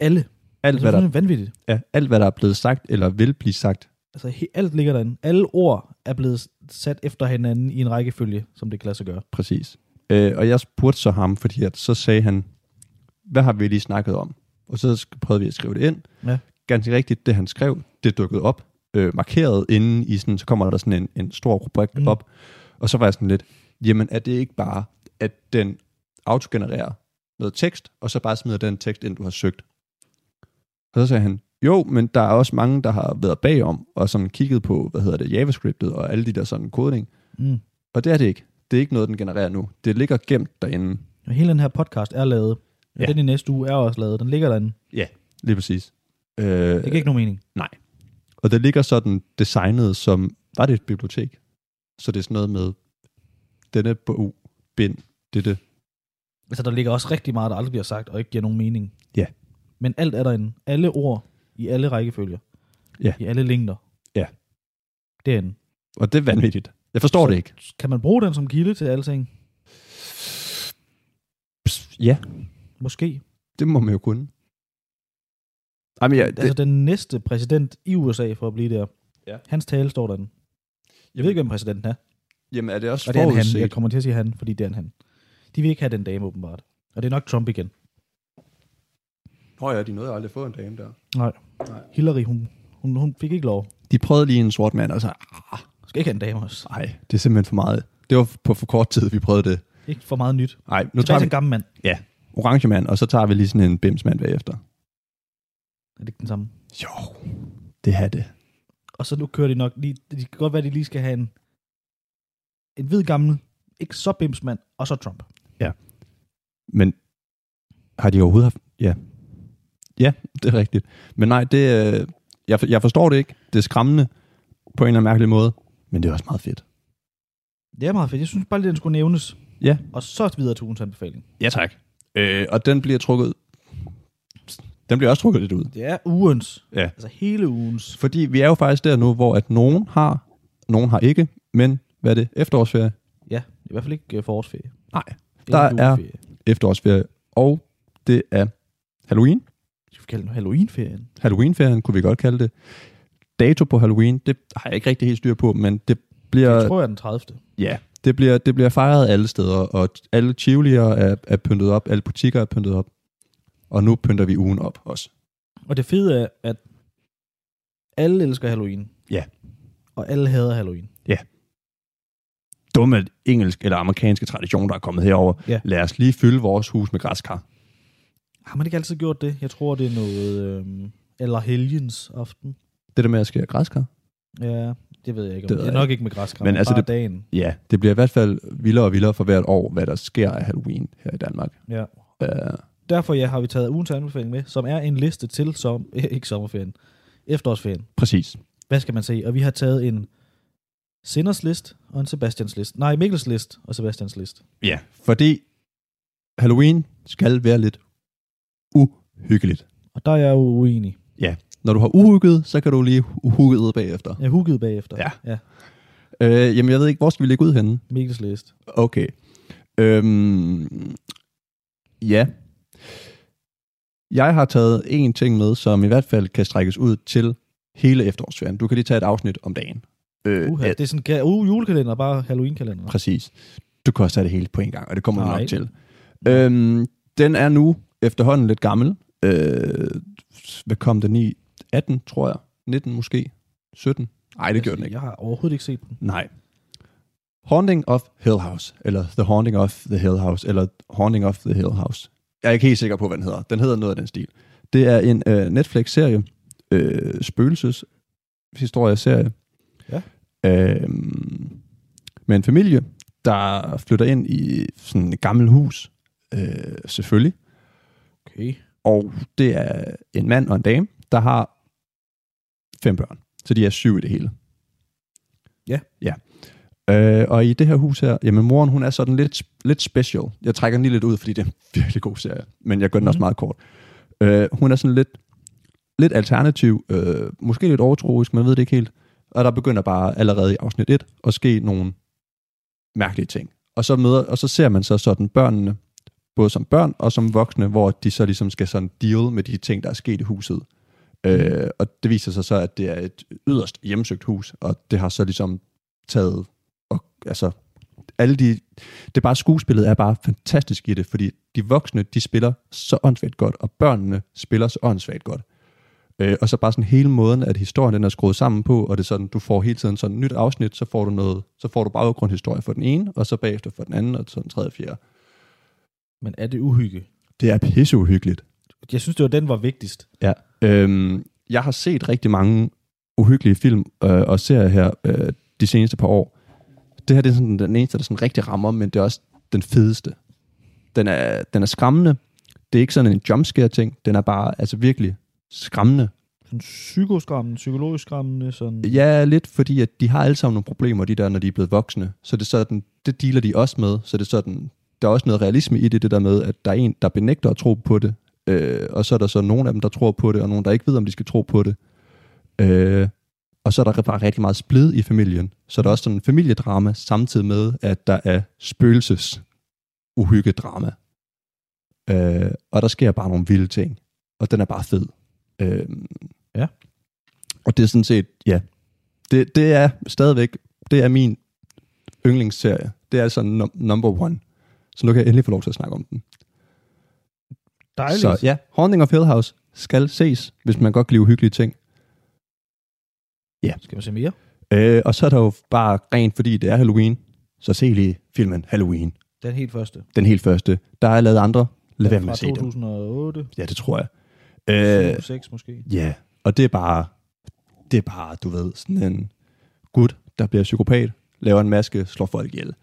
S3: Alle.
S2: Alt
S3: Altså,
S2: hvad,
S3: det er
S2: der,
S3: fuldstændig vanvittigt.
S2: ja, alt, hvad der er blevet sagt, eller vil blive sagt.
S3: Altså, he, alt ligger derinde. Alle ord er blevet sat efter hinanden i en rækkefølge, som det kan lade sig gøre.
S2: Præcis. Øh, og jeg spurgte så ham, fordi at, så sagde han, hvad har vi lige snakket om? Og så sk- prøvede vi at skrive det ind.
S3: Ja.
S2: Ganske rigtigt, det han skrev, det dukkede op, øh, markeret inden i sådan, så kommer der sådan en, en stor rubrik
S3: Mm.
S2: mm. op. Og så var jeg sådan lidt, jamen er det ikke bare, at den autogenererer noget tekst, og så bare smider den tekst ind, du har søgt? Og så sagde han, jo, men der er også mange, der har været bagom, og sådan kigget på, hvad hedder det, JavaScriptet og alle de der sådan kodning.
S3: Mm.
S2: Og det er det ikke. Det er ikke noget, den genererer nu. Det ligger gemt derinde.
S3: Og hele den her podcast er lavet. Ja.
S2: Ja.
S3: Den i næste uge er også lavet. Den ligger derinde.
S2: Lige præcis. Øh,
S3: Det giver ikke nogen mening.
S2: Og det ligger sådan designet som, var det et bibliotek? Så det er sådan noget med, denne bog, bind, dette.
S3: Altså, der ligger også rigtig meget, der aldrig bliver sagt, og ikke giver nogen mening.
S2: Ja.
S3: Men alt er derinde. Alle ord, i alle rækkefølger.
S2: Ja.
S3: I alle længder.
S2: Ja.
S3: Derinde.
S2: Og det er vanvittigt. Jeg forstår
S3: Så-
S2: så... det ikke.
S3: Kan man bruge den som kilde til alting?
S2: Pss, Ja,
S3: Måske.
S2: det må man jo kunne. Jamen, ja,
S3: Det...
S2: det,
S3: Altså, den næste præsident i USA, for at blive der,
S2: Ja.
S3: hans tale står derinde. Jeg ved ikke, hvem præsidenten er.
S2: jamen er det også
S3: Og det er en han.
S2: forudset?
S3: Jeg kommer til at sige han, fordi det er en han. De vil ikke have den dame, åbenbart. Og det er nok Trump igen.
S2: Nå ja, de nåede aldrig at få en dame der.
S3: Hillary, hun, hun, hun fik ikke lov.
S2: De prøvede lige en sort mand, og så,
S3: Skal ikke have en dame også.
S2: nej, det er simpelthen for meget. Det var på for kort tid, vi prøvede det.
S3: Ikke for meget nyt.
S2: Nej, nu
S3: Nu
S2: tager
S3: tager
S2: vi
S3: en gammel mand.
S2: orange mand, og så tager vi lige sådan en bimsmand bagefter.
S3: Er det ikke den samme?
S2: Jo, det er det.
S3: Og så nu kører de nok lige... Det kan godt være, at de lige skal have en... En hvid gammel, ikke så bimsmand, og så Trump.
S2: Men har de overhovedet haft... Ja. Ja, det er rigtigt. Men nej, det, øh, jeg, for- jeg forstår det ikke. Det er skræmmende på en eller anden mærkelig måde, men det er også meget fedt.
S3: Det er meget fedt. Jeg synes bare lige, den skulle nævnes.
S2: Ja.
S3: Og så videre til ugens anbefaling.
S2: Ja, tak. Øh, og den bliver trukket... Den bliver også trukket lidt ud.
S3: Det er ugens.
S2: Ja.
S3: Altså hele ugens.
S2: Fordi vi er jo faktisk der nu, hvor at nogen har, nogen har ikke, men hvad er det? Efterårsferie?
S3: Ja, i hvert fald ikke øh, forårsferie.
S2: Nej,
S3: Ikke
S2: Der er-
S3: juleferie.
S2: efterårsferie. Og det er Halloween.
S3: Skal vi kalde den Halloweenferien?
S2: Halloweenferien, kunne vi godt kalde det. Dato på Halloween, det har jeg ikke rigtig helt styr på, men det bliver,
S3: Jeg tror, jeg er den 30.
S2: ja, det bliver, det bliver fejret alle steder, og alle cheerleader er, er pyntet op, alle butikker er pyntet op, og nu pynter vi ugen op også.
S3: Og det fede er, at alle elsker Halloween.
S2: Ja.
S3: Og alle hader Halloween.
S2: Dumme engelsk eller amerikanske tradition, der er kommet herover.
S3: Ja.
S2: Lad os lige fylde vores hus med græskar.
S3: Har man ikke altid gjort det? Jeg tror, det er noget... Øh, eller helgens aften.
S2: Det der med at skære græskar?
S3: Ja, det ved jeg ikke.
S2: Det
S3: Om. Det,
S2: ved
S3: det er
S2: jeg
S3: nok ikke med græskram,
S2: Men
S3: men altså
S2: altså
S3: bare
S2: det-
S3: dagen.
S2: Ja, det bliver i hvert fald vildere og vildere for hvert år, hvad der sker af Halloween her i Danmark.
S3: Ja.
S2: Uh,
S3: Derfor ja, har vi taget ugens anbefaling med, som er en liste til som, [laughs] ikke sommerferien, efterårsferien.
S2: præcis.
S3: Hvad skal man se? Og vi har taget en Sinders list og en Sebastians list. Nej, Mikkels list og Sebastians list.
S2: Ja, fordi Halloween skal være lidt uhyggeligt.
S3: Og der er jeg jo uenig.
S2: Når du har uhygget, så kan du lige uhygget bagefter.
S3: Jeg er hugget bagefter.
S2: Ja.
S3: ja.
S2: Øh, jamen, jeg ved ikke, hvor skal vi lægge ud henne?
S3: Mikkels list.
S2: Okay. Øhm, ja. Jeg har taget en ting med, som i hvert fald kan strækkes ud til hele efterårsferien. Du kan lige tage et afsnit om dagen. Øh,
S3: Uha,
S2: at-
S3: det er sådan en uh, julekalender, bare Halloween-kalender.
S2: Præcis. Du koster det hele på en gang, og det kommer du
S3: Nej.
S2: nok til. Øhm, den er nu efterhånden lidt gammel. Øh, hvad kom den i? 18, tror jeg. 19 måske. 17? Nej, det gjorde den ikke.
S3: Altså, Jeg har overhovedet ikke set den.
S2: Nej. Haunting of Hill House, eller The Haunting of the Hill House, eller Haunting of the Hill House. Jeg er ikke helt sikker på, hvad den hedder. Den hedder noget af den stil. Det er en øh, Netflix-serie, øh, spøgelses historieserie,
S3: Ja.
S2: øh, med en familie, der flytter ind i sådan et gammelt hus, øh, selvfølgelig.
S3: Okay.
S2: Og det er en mand og en dame, der har fem børn. Så de er syv i det hele.
S3: Ja.
S2: Ja. Øh, og i det her hus her, jamen moren, hun er sådan lidt, lidt special. Jeg trækker den lige lidt ud, fordi det er en virkelig god serie. Men jeg gør den mm. også
S3: Mhm.
S2: meget kort. Øh, hun er sådan lidt, lidt alternativ, øh, måske lidt overtroisk, man ved det ikke helt. Og der begynder bare allerede i afsnit 1 at ske nogle mærkelige ting. Og så, møder, og så ser man så sådan børnene, både som børn og som voksne, hvor de så ligesom skal sådan deal med de ting, der er sket i huset. Øh, og det viser sig så, at det er et yderst hjemsøgt hus, og det har så ligesom taget, og, altså alle de, det er bare skuespillet er bare fantastisk i det, fordi de voksne, de spiller så åndssvagt godt, og børnene spiller så åndssvagt godt. Øh, og så bare sådan hele måden, at historien den er skruet sammen på, og det er sådan, du får hele tiden sådan et nyt afsnit, så får du noget, så får du baggrundhistorie for den ene, og så bagefter for den anden, og så den tredje og fjerde.
S3: Men er det uhygge?
S2: Det er pisseuhyggeligt.
S3: Jeg synes, det var den, var vigtigst.
S2: Ja. Øhm, jeg har set rigtig mange uhyggelige film øh, og serier her øh, de seneste par år. Det her det er sådan den eneste, der sådan rigtig rammer, men det er også den fedeste. Den er, den er skræmmende. Det er ikke sådan en jumpscare-ting. Den er bare altså virkelig skræmmende.
S3: Sådan psykoskræmmende, psykologisk skræmmende, sådan...
S2: Ja, lidt fordi, at de har alle sammen nogle problemer, de der, når de er blevet voksne. Så det er sådan, det dealer de også med. Så det er sådan, der er også noget realisme i det, det der med, at der er en, der benægter at tro på det. Øh, og så er der så nogle af dem, der tror på det, og nogle, der ikke ved, om de skal tro på det. Øh, og så er der bare rigtig meget splid i familien. Så der er også sådan en familiedrama, samtidig med, at der er spøgelses uhyggedrama. Øh, og der sker bare nogle vilde ting. Og den er bare fed. Øh,
S3: Ja.
S2: Og det er sådan set, ja, det, det er stadigvæk, det er min yndlingsserie. Det er altså num- number one. Så nu kan jeg endelig få lov til at snakke om den.
S3: Dejligt.
S2: Så ja, Haunting of Hill House skal ses, hvis man godt kan lide uhyggelige ting.
S3: Skal man se mere?
S2: Øh, og så er der jo bare rent, fordi det er Halloween, så se lige filmen Halloween.
S3: Den helt første.
S2: Den helt første. Der er lavet andre. Lad være
S3: Den
S2: med
S3: Fra
S2: at se dem.
S3: 2008, øh,
S2: Ja, det tror jeg. Øh,
S3: 2006 måske.
S2: Ja, og det er bare, det er bare, du ved, sådan en gut, der bliver psykopat, laver en maske, slår folk ihjel.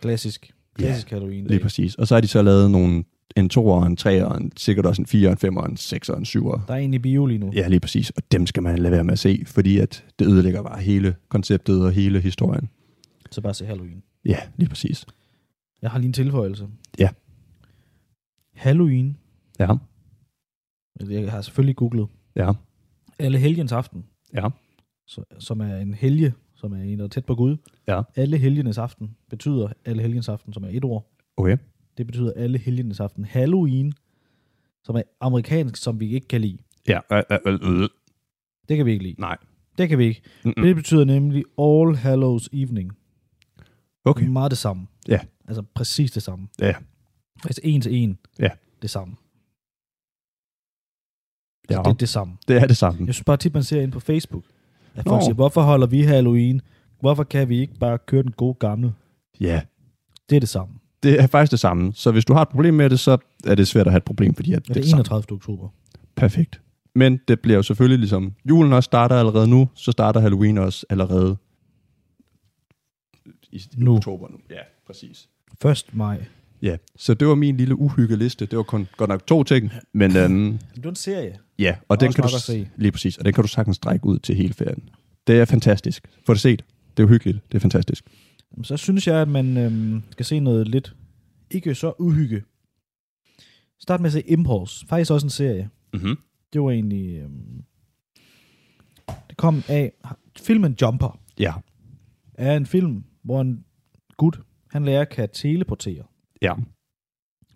S3: Klassisk.
S2: Ja,
S3: Klassisk Halloween.
S2: Lige præcis. Og så har de så lavet nogle, en toer, en treer, en, sikkert også en firer, en femmer, en sekser, en syver.
S3: Der er en i bio lige nu.
S2: Ja, lige præcis. Og dem skal man lade være med at se, fordi at det ødelægger bare hele konceptet og hele historien.
S3: Så bare se Halloween.
S2: Ja, lige præcis.
S3: Jeg har lige en tilføjelse.
S2: Ja.
S3: Halloween.
S2: Ja,
S3: Jeg har selvfølgelig googlet.
S2: ja,
S3: Alle helgens aften.
S2: Ja.
S3: Så, som er en helge, som er en, der er tæt på Gud.
S2: Ja.
S3: Alle helgenes aften betyder alle helgens aften, som er et ord.
S2: okay.
S3: Det betyder alle helgenes aften. Halloween, som er amerikansk, som vi ikke kan lide.
S2: Ja, øh, øh, øh, øh.
S3: Det kan vi ikke lide.
S2: nej.
S3: Det kan vi ikke. Mm.
S2: Mm-mm.
S3: Det betyder nemlig All Hallows Evening.
S2: Okay,
S3: Meget det samme.
S2: Ja.
S3: Altså præcis det samme.
S2: Ja.
S3: Altså en til en.
S2: Ja.
S3: Det samme.
S2: ja,
S3: Ja. Det er det samme.
S2: det er det samme.
S3: Jeg synes bare tit, man ser ind på Facebook, at folk
S2: Mm. Nå.
S3: siger, hvorfor holder vi Halloween? Hvorfor kan vi ikke bare køre den gode gamle?
S2: Ja,
S3: Det er det samme.
S2: det er faktisk det samme. Så hvis du har et problem med det, så er det svært at have et problem, fordi at
S3: Ja,
S2: det er det
S3: det er
S2: samme.
S3: 31. oktober.
S2: Perfekt. Men det bliver jo selvfølgelig ligesom, julen også starter allerede nu, så starter Halloween også allerede i
S3: Nu.
S2: oktober nu. Ja, præcis.
S3: 1. maj.
S2: Ja, så det var min lille uhyggeliste. Det var kun godt nok to ting, men øhm,
S3: Det er en serie.
S2: ja, og den
S3: Også
S2: kan du
S3: nok at se.
S2: lige præcis, og den kan du sagtens strække ud til hele ferien. Det er fantastisk. Få det set. Det er uhyggeligt. Det er fantastisk.
S3: Så synes jeg, at man øhm, skal se noget lidt ikke så uhygge. Start med at se Impulse. Faktisk også en serie.
S2: Mm-hmm.
S3: Det var egentlig... Øhm, det kom af... Filmen Jumper
S2: Ja.
S3: er en film, hvor en gut, han lærer at kan teleportere.
S2: Ja,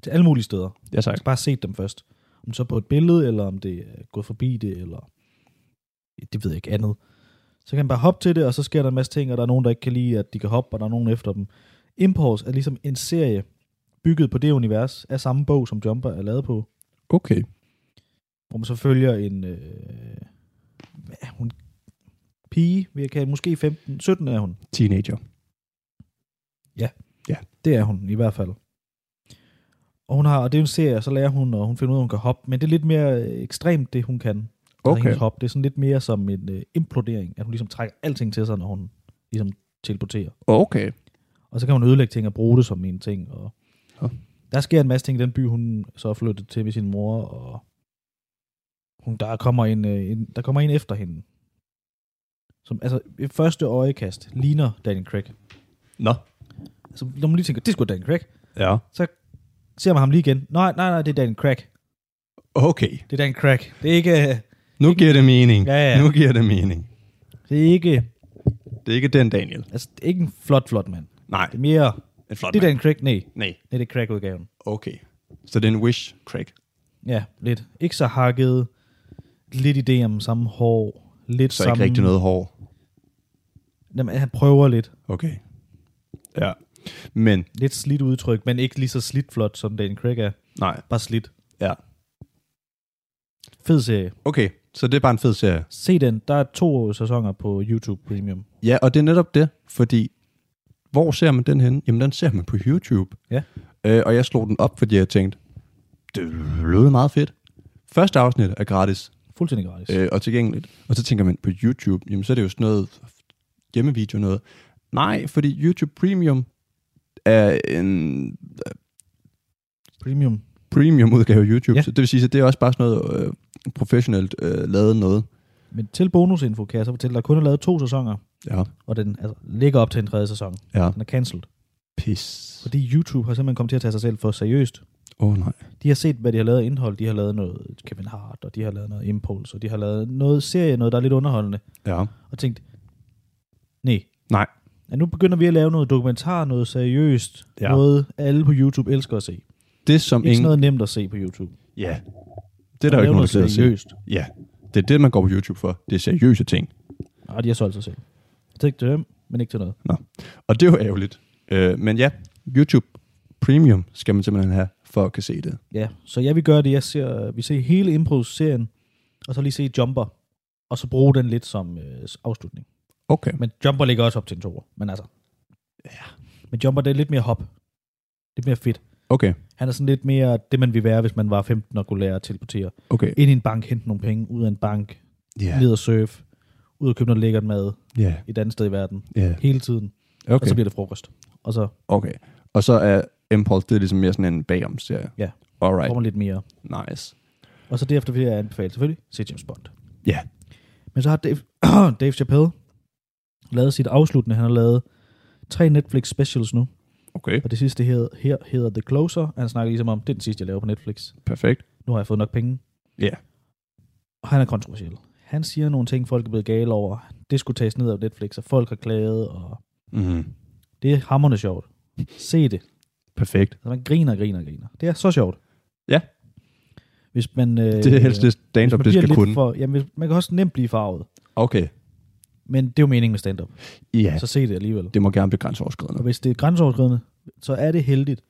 S3: Til alle mulige steder.
S2: ja
S3: Jeg
S2: tak.
S3: skal bare se dem først. Om så på et billede, eller om det er gået forbi det, eller det ved jeg ikke andet. Så kan man bare hoppe til det, og så sker der en masse ting, og der er nogen, der ikke kan lide, at de kan hoppe, og der er nogen efter dem. Impulse er ligesom en serie bygget på det univers af samme bog, som Jumper er lavet på,
S2: Okay.
S3: hvor man så følger en... Øh, hvad er hun? Pige, vi kan måske 15, 17 er hun.
S2: Teenager.
S3: Det er hun i hvert fald. Og, hun har, og det er jo en serie, så lærer hun, og hun finder ud af, at hun kan hoppe. Men det er lidt mere øh, ekstremt, det hun kan. Okay.
S2: Okay.
S3: Hendes hop. Det er sådan lidt mere som en øh, implodering, at hun ligesom trækker alting til sig, når hun ligesom teleporterer.
S2: Okay.
S3: Og så kan hun ødelægge ting og bruge det som en ting. Og
S2: Nå.
S3: Der sker en masse ting i den by, hun så er flyttet til med sin mor, og hun, der, kommer en, øh, en, der kommer en efter hende. Som, altså, ved første øjekast ligner Daniel Craig.
S2: Nå.
S3: Altså, når man lige tænker, det skulle Daniel Craig,
S2: Ja.
S3: ser man ham lige igen. Nej, nej, nej, det er Daniel Craig.
S2: Okay.
S3: Det er Daniel Craig. Det er ikke, øh,
S2: Nu giver det mening.
S3: Ja, ja.
S2: Nu giver det mening.
S3: det er ikke,
S2: Det er ikke den, Daniel.
S3: altså, det er ikke en flot, flot mand.
S2: Nej,
S3: Det er mere,
S2: en flot
S3: det er
S2: mand.
S3: Daniel Craig, nej.
S2: Nej,
S3: Nej, det er Craig-udgaven.
S2: okay. Så det er en wish, Craig.
S3: Ja, lidt. Ikke så hakket. Lidt idé om samme hår. Lidt
S2: Så
S3: samme...
S2: ikke rigtig noget hår.
S3: Jamen, han prøver lidt.
S2: Okay. Ja. Men,
S3: Lidt slidt udtryk, men ikke lige så slidt flot, som Daniel Craig er.
S2: nej.
S3: Bare slidt.
S2: Ja.
S3: Fed serie.
S2: Okay, så det er bare en fed serie.
S3: Se den. Der er to sæsoner på YouTube Premium.
S2: Ja, og det er netop det, fordi hvor ser man den henne? Jamen, den ser man på YouTube.
S3: Ja.
S2: Øh, og jeg slog den op, fordi jeg tænkte, det lød meget fedt. Første afsnit er gratis
S3: Fuldstændig gratis. Øh.
S2: øh, og tilgængeligt. Og så tænker man på YouTube, jamen så er det jo sådan noget hjemmevideo noget. Nej, fordi YouTube Premium er en øh,
S3: Premium.
S2: premium udgave af YouTube.
S3: Ja.
S2: Ja. Så det vil sige, at det er også bare sådan noget øh, professionelt øh, lavet noget.
S3: Men til bonusinfo kan jeg så fortælle, at der kun er lavet to sæsoner,
S2: Ja.
S3: og den altså, ligger op til en tredje sæson.
S2: Ja.
S3: Den er cancelled.
S2: Pis.
S3: Fordi YouTube har simpelthen kommet til at tage sig selv for seriøst.
S2: Åh oh, nej.
S3: De har set, hvad de har lavet af indhold. De har lavet noget Kevin Hart, og de har lavet noget Impulse, og de har lavet noget serie, noget, der er lidt underholdende.
S2: Ja.
S3: Og tænkt, nej.
S2: Nej.
S3: Ja, nu begynder vi at lave noget dokumentar, noget seriøst. Ja.
S2: Ja.
S3: Noget, alle på YouTube elsker at se. Ikke
S2: Det som
S3: sådan
S2: ingen...
S3: noget nemt at se på YouTube.
S2: Ja. Det er der jo ikke
S3: Lave
S2: nogen, der gider at se.
S3: seriøst.
S2: Ja. Det er det, man går på YouTube for. Det er seriøse ting.
S3: Nej, Ah, de har solgt sig selv. Det er ikke til dem, men ikke til noget.
S2: Og det er jo ærgerligt. Øh, men ja, YouTube Premium skal man simpelthen have, for at kan se det.
S3: Ja, så jeg vil gøre det. Jeg ser, vi ser hele Impulse-serien, og så lige se Jumper, og så bruge den lidt som øh, afslutning.
S2: Okay.
S3: Men Jumper ligger også op til en toer. Men altså... Ja. Men Jumper, det er lidt mere hop. Lidt mere fedt.
S2: Okay.
S3: Han er sådan lidt mere det, man ville være, hvis man var 15 og kunne lære at teleportere.
S2: Okay.
S3: Ind i en bank, hente nogle penge. Ud af en bank. Ja.
S2: Ja.
S3: Ned og surfe. Ud og købe noget lækkert mad
S2: Ja.
S3: et andet sted i verden.
S2: Ja.
S3: Hele tiden. Okay. Og så
S2: Okay.
S3: bliver det frokost. Og så
S2: Okay. Og så er Impulse, det er ligesom mere sådan en bagom-serie.
S3: Ja.
S2: Alright.
S3: får man lidt mere.
S2: Nice.
S3: Og så derefter vil jeg anbefale selvfølgelig, se James Bond.
S2: Ja.
S3: Men så har Dave, [clears throat] Dave Chappelle lavet sit afsluttende. Han har lavet tre Netflix specials nu.
S2: Okay.
S3: Og det sidste her, her hedder The Closer. og Han snakker ligesom om, det er den sidste, jeg laver på Netflix.
S2: Perfekt.
S3: Nu har jeg fået nok penge.
S2: Ja.
S3: Og han er kontroversiel. Han siger nogle ting, folk er blevet gale over. Det skulle tages ned af Netflix, og folk har klaget, og Mm-hmm.
S2: Mm.
S3: det er hammerne sjovt. Se det.
S2: Perfekt.
S3: Altså, man griner, griner, griner. Det er så sjovt.
S2: Ja.
S3: Hvis man... Øh,
S2: Det er helst det
S3: hvis
S2: stand-up,
S3: man
S2: det
S3: bliver
S2: skal
S3: lidt
S2: kunne.
S3: For, jamen, hvis- man kan også nemt blive farvet.
S2: Okay.
S3: Men det er jo meningen med stand-up.
S2: Ja.
S3: Så se det alligevel.
S2: Det må gerne blive
S3: Og
S2: grænseoverskridende.
S3: hvis det er grænseoverskridende, så er det heldigt,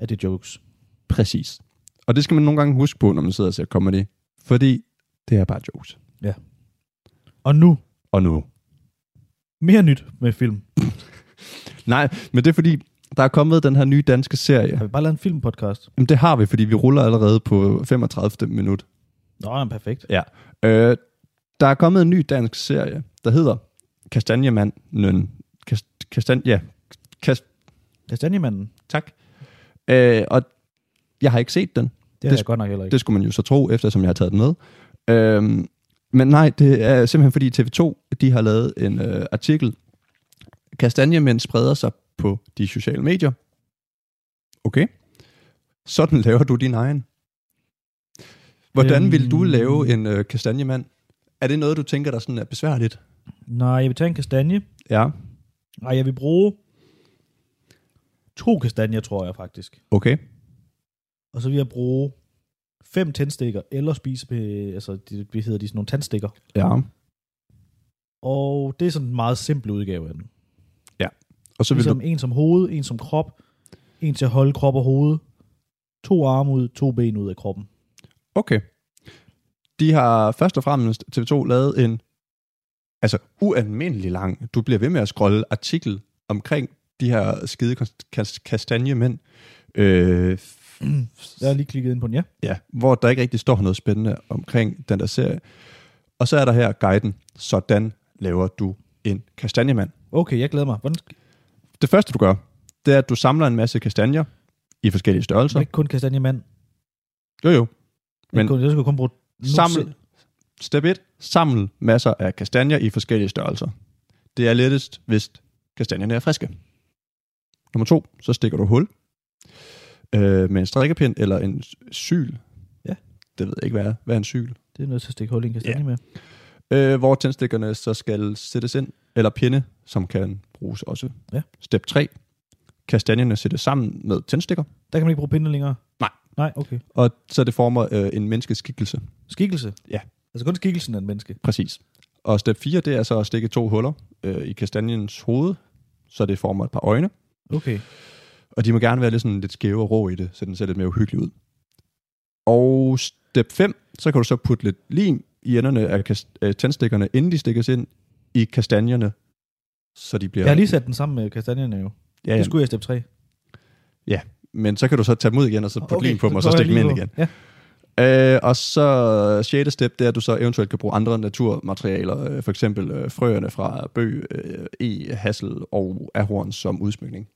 S3: at det er jokes.
S2: Præcis. Og det skal man nogle gange huske på, når man sidder og ser comedy. Fordi det er bare jokes.
S3: Og nu,
S2: Og nu.
S3: mere nyt med film.
S2: Nej, men det er fordi, der er kommet den her nye danske serie.
S3: Har vi bare lavet en filmpodcast?
S2: Jamen, det har vi, fordi vi ruller allerede på 35. minut.
S3: Nå, jamen, perfekt.
S2: Øh, der er kommet en ny dansk serie, der hedder Kastanjemanden. Kast, kastan, ja, kast,
S3: Kastanjemanden,
S2: tak. Øh, og jeg har ikke set den.
S3: det har
S2: Det
S3: jeg godt nok heller ikke.
S2: Det skulle man jo så tro, eftersom jeg har taget den med. Øhm, men nej, det er simpelthen fordi TV2, de har lavet en øh, artikel. Kastanjemænd spreder sig på de sociale medier. Okay. Sådan laver du din egen. Hvordan vil du
S3: Øhm.
S2: lave en øh, kastanjemand? Er det noget, du tænker, der sådan er besværligt?
S3: Nej, jeg vil tage en kastanje.
S2: Ja.
S3: Nej, jeg vil bruge to kastanjer, tror jeg faktisk.
S2: Okay.
S3: Og så vil jeg bruge fem tændstikker, eller spise, med, altså, de, hvad hedder de, sådan nogle tandstikker.
S2: Ja.
S3: Og det er sådan en meget simpel udgave af den.
S2: Og så
S3: Så
S2: vil
S3: ligesom
S2: du...
S3: du... en som hoved, en som krop, en til at holde krop og hoved, to arme ud, to ben ud af kroppen.
S2: Okay. De har først og fremmest TV2 lavet en altså ualmindelig lang. Du bliver ved med at scrolle artikel omkring de her skide kas- kas- kastanjemænd. Øh,
S3: Jeg har lige klikket ind på den, ja.
S2: ja, hvor der ikke rigtig står noget spændende omkring den der serie. Og så er der her guiden. Sådan laver du en kastanjemand.
S3: Okay, jeg glæder mig. Hvordan skal...
S2: Det første, du gør, det er, at du samler en masse kastanjer i forskellige størrelser.
S3: Så. Ikke kun kastanjemand.
S2: Jo, jo. Men-
S3: Men... Kun, jeg skulle kun bruge... Nu
S2: Saml,
S3: se-
S2: step 1. Saml masser af kastanjer i forskellige størrelser. Det er lettest, hvis kastanjerne er friske. Nummer 2. Så stikker du hul øh, med en strikkepind eller en s- syl.
S3: Ja.
S2: Det ved jeg ikke, hvad er. Hvad er en syl?
S3: Det er nødt til at stikke hul i en kastanje
S2: Ja.
S3: med.
S2: Øh, hvor tændstikkerne så skal sættes ind, eller pinde, som kan bruges også.
S3: Ja.
S2: Step 3. Kastanjerne sættes sammen med tændstikker,
S3: Der kan man ikke bruge pinde længere?
S2: Nej.
S3: Nej, okay.
S2: og så det former øh, en menneskeskikkelse.
S3: Skikkelse?
S2: Ja.
S3: Altså kun skikkelsen af en menneske.
S2: Præcis. Og step 4, det er så at stikke to huller øh, i kastanjens hoved, så det former et par øjne.
S3: Okay.
S2: Og de må gerne være lidt, sådan lidt skæve og rå i det, så den ser lidt mere uhyggelig ud. Og step 5, så kan du så putte lidt lim i enderne af kast- af tændstikkerne, inden de stikkes ind i kastanjerne, så de bliver...
S3: Jeg har lige sat den sammen med kastanjerne jo.
S2: ja, ja,
S3: Det skulle jeg i step 3.
S2: Men så kan du så tage dem ud igen, og så
S3: Ah,
S2: putte okay, lim på dem, og så
S3: prøver jeg
S2: stikke dem
S3: lige
S2: ind
S3: på.
S2: igen.
S3: Ja.
S2: Øh, og så sjette step, det er, at du så eventuelt kan bruge andre naturmaterialer, øh, for eksempel øh, frøerne fra bøg, øh, e, hassel og ahorn som udsmykning.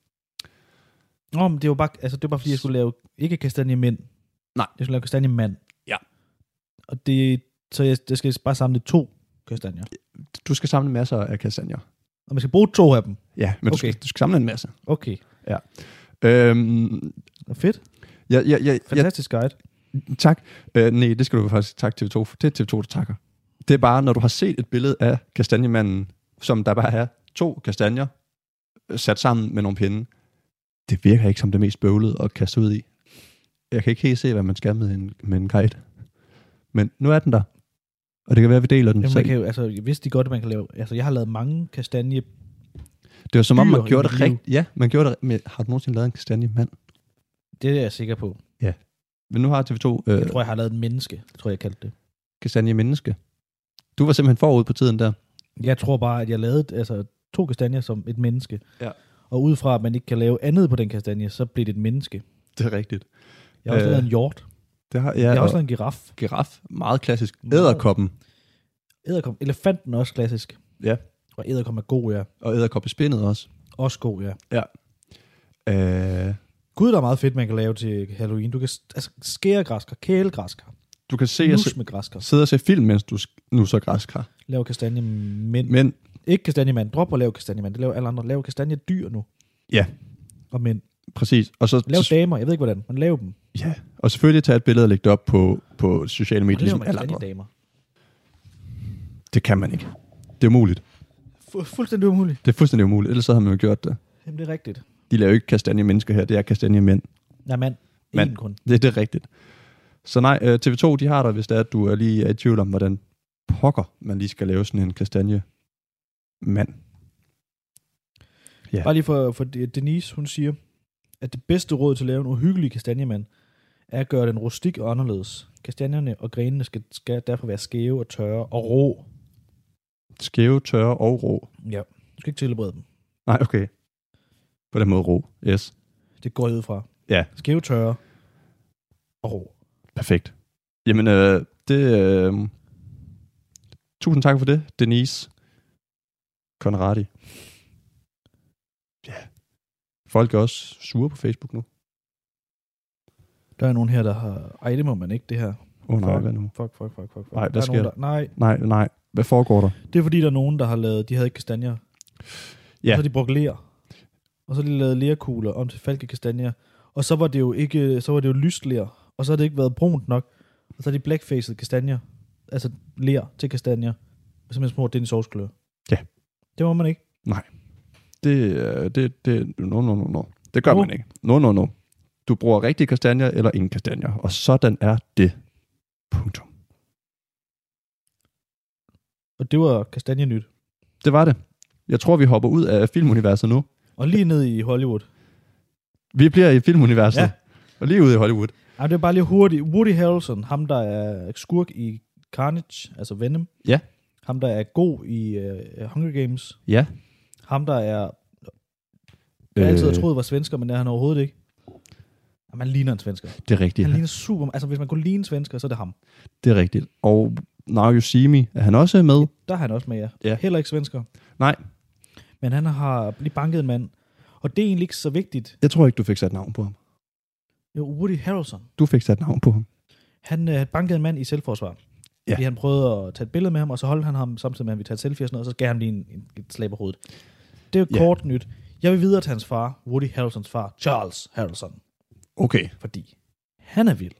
S3: Nå, men det var bare, altså, det var bare fordi, jeg skulle lave ikke kastanjemænd.
S2: Nej.
S3: Jeg skulle lave kastanjemand.
S2: Ja.
S3: Og det, så jeg, jeg skal bare samle to kastanjer.
S2: Du skal samle masser af kastanjer.
S3: Og man skal bruge to af dem.
S2: Ja, men okay. du,
S3: Okay.
S2: skal, du skal samle en masse.
S3: Okay.
S2: Øhm,
S3: Og fedt.
S2: ja, ja, ja, ja,
S3: Fantastisk guide.
S2: tak. Øh, nej, det skal du faktisk takke TV2 for. Det er TV2, der takker. Det er bare, når du har set et billede af kastanjemanden, som der bare er to kastanjer øh, sat sammen med nogle pinde, det virker ikke som det mest bøvlede at kaste ud i. Jeg kan ikke helt se, hvad man skal med en, med en kite. Men nu er den der. Og det kan være, at vi deler den.
S3: Jamen,
S2: så
S3: man kan jo, altså, jeg vidste de godt, at man kan lave... Altså, jeg har lavet mange kastanje...
S2: det var som om, man
S3: dyr i
S2: gjorde det
S3: mit liv.
S2: rigtigt. Ja, man gjorde det men Har du nogensinde lavet en kastanjemand?
S3: Det er jeg sikker på.
S2: Men nu har TV2 øh,
S3: Jeg tror, jeg har lavet en menneske, tror jeg, jeg kaldte det.
S2: kastanjemenneske. Du var simpelthen forud på tiden der.
S3: Jeg tror bare, at jeg lavede altså, to kastanjer som et menneske.
S2: Ja.
S3: Og ud fra, at man ikke kan lave andet på den kastanje, så bliver det et menneske.
S2: Det er rigtigt.
S3: Jeg har også
S2: Øh,
S3: øh, lavet en hjort.
S2: Det har, ja,
S3: Jeg har
S2: og-
S3: også lavet en giraf.
S2: giraf, meget klassisk.
S3: Meget.
S2: Æderkoppen
S3: Æderkom. Elefanten er også klassisk.
S2: Ja.
S3: Og æderkom er god, ja.
S2: og æderkoppespindet også.
S3: Også god, ja.
S2: Øh,
S3: Gud, der er meget fedt, man kan lave til Halloween. Du kan s- altså, skære græskar, kæle græskar,
S2: du kan se og
S3: nus
S2: se,
S3: med græskar,
S2: sidde og se film, mens du sk- nu så græskar.
S3: lave kastanje mænd.
S2: Men
S3: Ikke kastanjemand. Drop og lav kastanjemand. Det laver alle andre. Lav kastanjedyr nu.
S2: Ja.
S3: Og mænd.
S2: præcis. Og, så,
S3: Lav
S2: så,
S3: damer. Jeg ved ikke, hvordan. Men lav dem.
S2: ja. og selvfølgelig tage et billede og lægge det op på, på sociale medier.
S3: Hvordan laver
S2: Ligesom
S3: man
S2: alle andre.
S3: kastanjedamer?
S2: Det kan man ikke. Det er umuligt.
S3: Fu- fuldstændig umuligt.
S2: Det er fuldstændig umuligt. Ellers så havde man jo gjort det.
S3: Jamen, det er rigtigt.
S2: De laver jo ikke kastanje mennesker her. Det er kastanje mænd.
S3: Nej, mand.
S2: Mand.
S3: Én kun.
S2: Det, det er rigtigt. Så nej, øh, TV2 de har dig, hvis det er, at du er lige er i tvivl om, hvordan pokker man lige skal lave sådan en kastanje mand. Ja.
S3: Bare lige for, for det- Denise, hun siger, at det bedste råd til at lave en uhyggelig kastanjemand, er at gøre den rustik og anderledes. Kastanjerne og grenene skal, skal derfor være skæve og tørre og rå.
S2: Skæve, tørre og rå.
S3: Ja. Du skal ikke tilberede dem.
S2: Nej, okay. På den måde rå. Yes.
S3: Det går jeg ud fra.
S2: Ja.
S3: Skæve, tørre og rå.
S2: Perfekt. Jamen, øh, det... Øh, tusind tak for det, Denise. Conradi. Ja. Folk er også sure på Facebook nu.
S3: Der er nogen her, der har... Ej, det må man ikke, det her.
S2: Åh oh, nej, hvad nu?
S3: Fuck, fuck, fuck, fuck. fuck.
S2: Nej, hvad
S3: der er
S2: sker
S3: nogen, der... Nej,
S2: Nej, nej. Hvad foregår der?
S3: det er fordi, der er nogen, der har lavet... De havde ikke kastanjer.
S2: Ja.
S3: Og så har de brugt ler. Og så har de lavet lerkugler om til falkekastanjer. Og så var det jo ikke... Så var det jo lyst ler. Og så har det ikke været brunt nok. Og så har de blackfaced kastanjer. Altså ler til kastanjer. Og Simpelthen små, det er en sovsklør.
S2: Ja.
S3: Det må man ikke.
S2: Det, øh, det, det, no, no, no, no. Det gør
S3: Nu.
S2: man ikke. No, no, no. Du bruger rigtige kastanjer eller ingen kastanjer, og sådan er det. Punktum.
S3: Og det var kastanje nyt.
S2: Det var det. Jeg tror, vi hopper ud af filmuniverset nu.
S3: Og lige ned i Hollywood.
S2: Vi bliver i filmuniverset.
S3: Ja.
S2: Ja. Og lige ude i Hollywood.
S3: Ej, det er bare lige hurtigt. Woody Harrelson, ham der er skurk i Carnage, altså Venom.
S2: Ja.
S3: Ham der er god i uh, Hunger Games.
S2: Ja.
S3: Ham der er, jeg altid
S2: Øh.
S3: har troet var svensker, men det er han overhovedet ikke. Jamen, han ligner en svensker.
S2: Det er rigtigt.
S3: Han ligner super... Altså, hvis man kunne ligne en svensker, så er det ham.
S2: Det er rigtigt. Og Now You See Me, er han også med?
S3: Der er han også med, ja.
S2: Ja.
S3: Heller ikke svensker.
S2: Nej.
S3: Men han har lige banket en mand. Og det er egentlig ikke så vigtigt.
S2: Jeg tror ikke, du fik sat navn på ham.
S3: Jo, Woody Harrelson.
S2: Du fik sat navn på ham.
S3: Han øh, bankede en mand i selvforsvar.
S2: Ja.
S3: Ja. Fordi han prøvede at tage et billede med ham, og så holdt han ham samtidig med, at vi tager et selfie og sådan noget, og så gav han lige en, en, et slag på hovedet. Det er jo
S2: Ja.
S3: kort nyt. Jeg vil videre til hans far, Woody Harrelsons far, Charles Harrelson,
S2: Okay.
S3: fordi han er vild.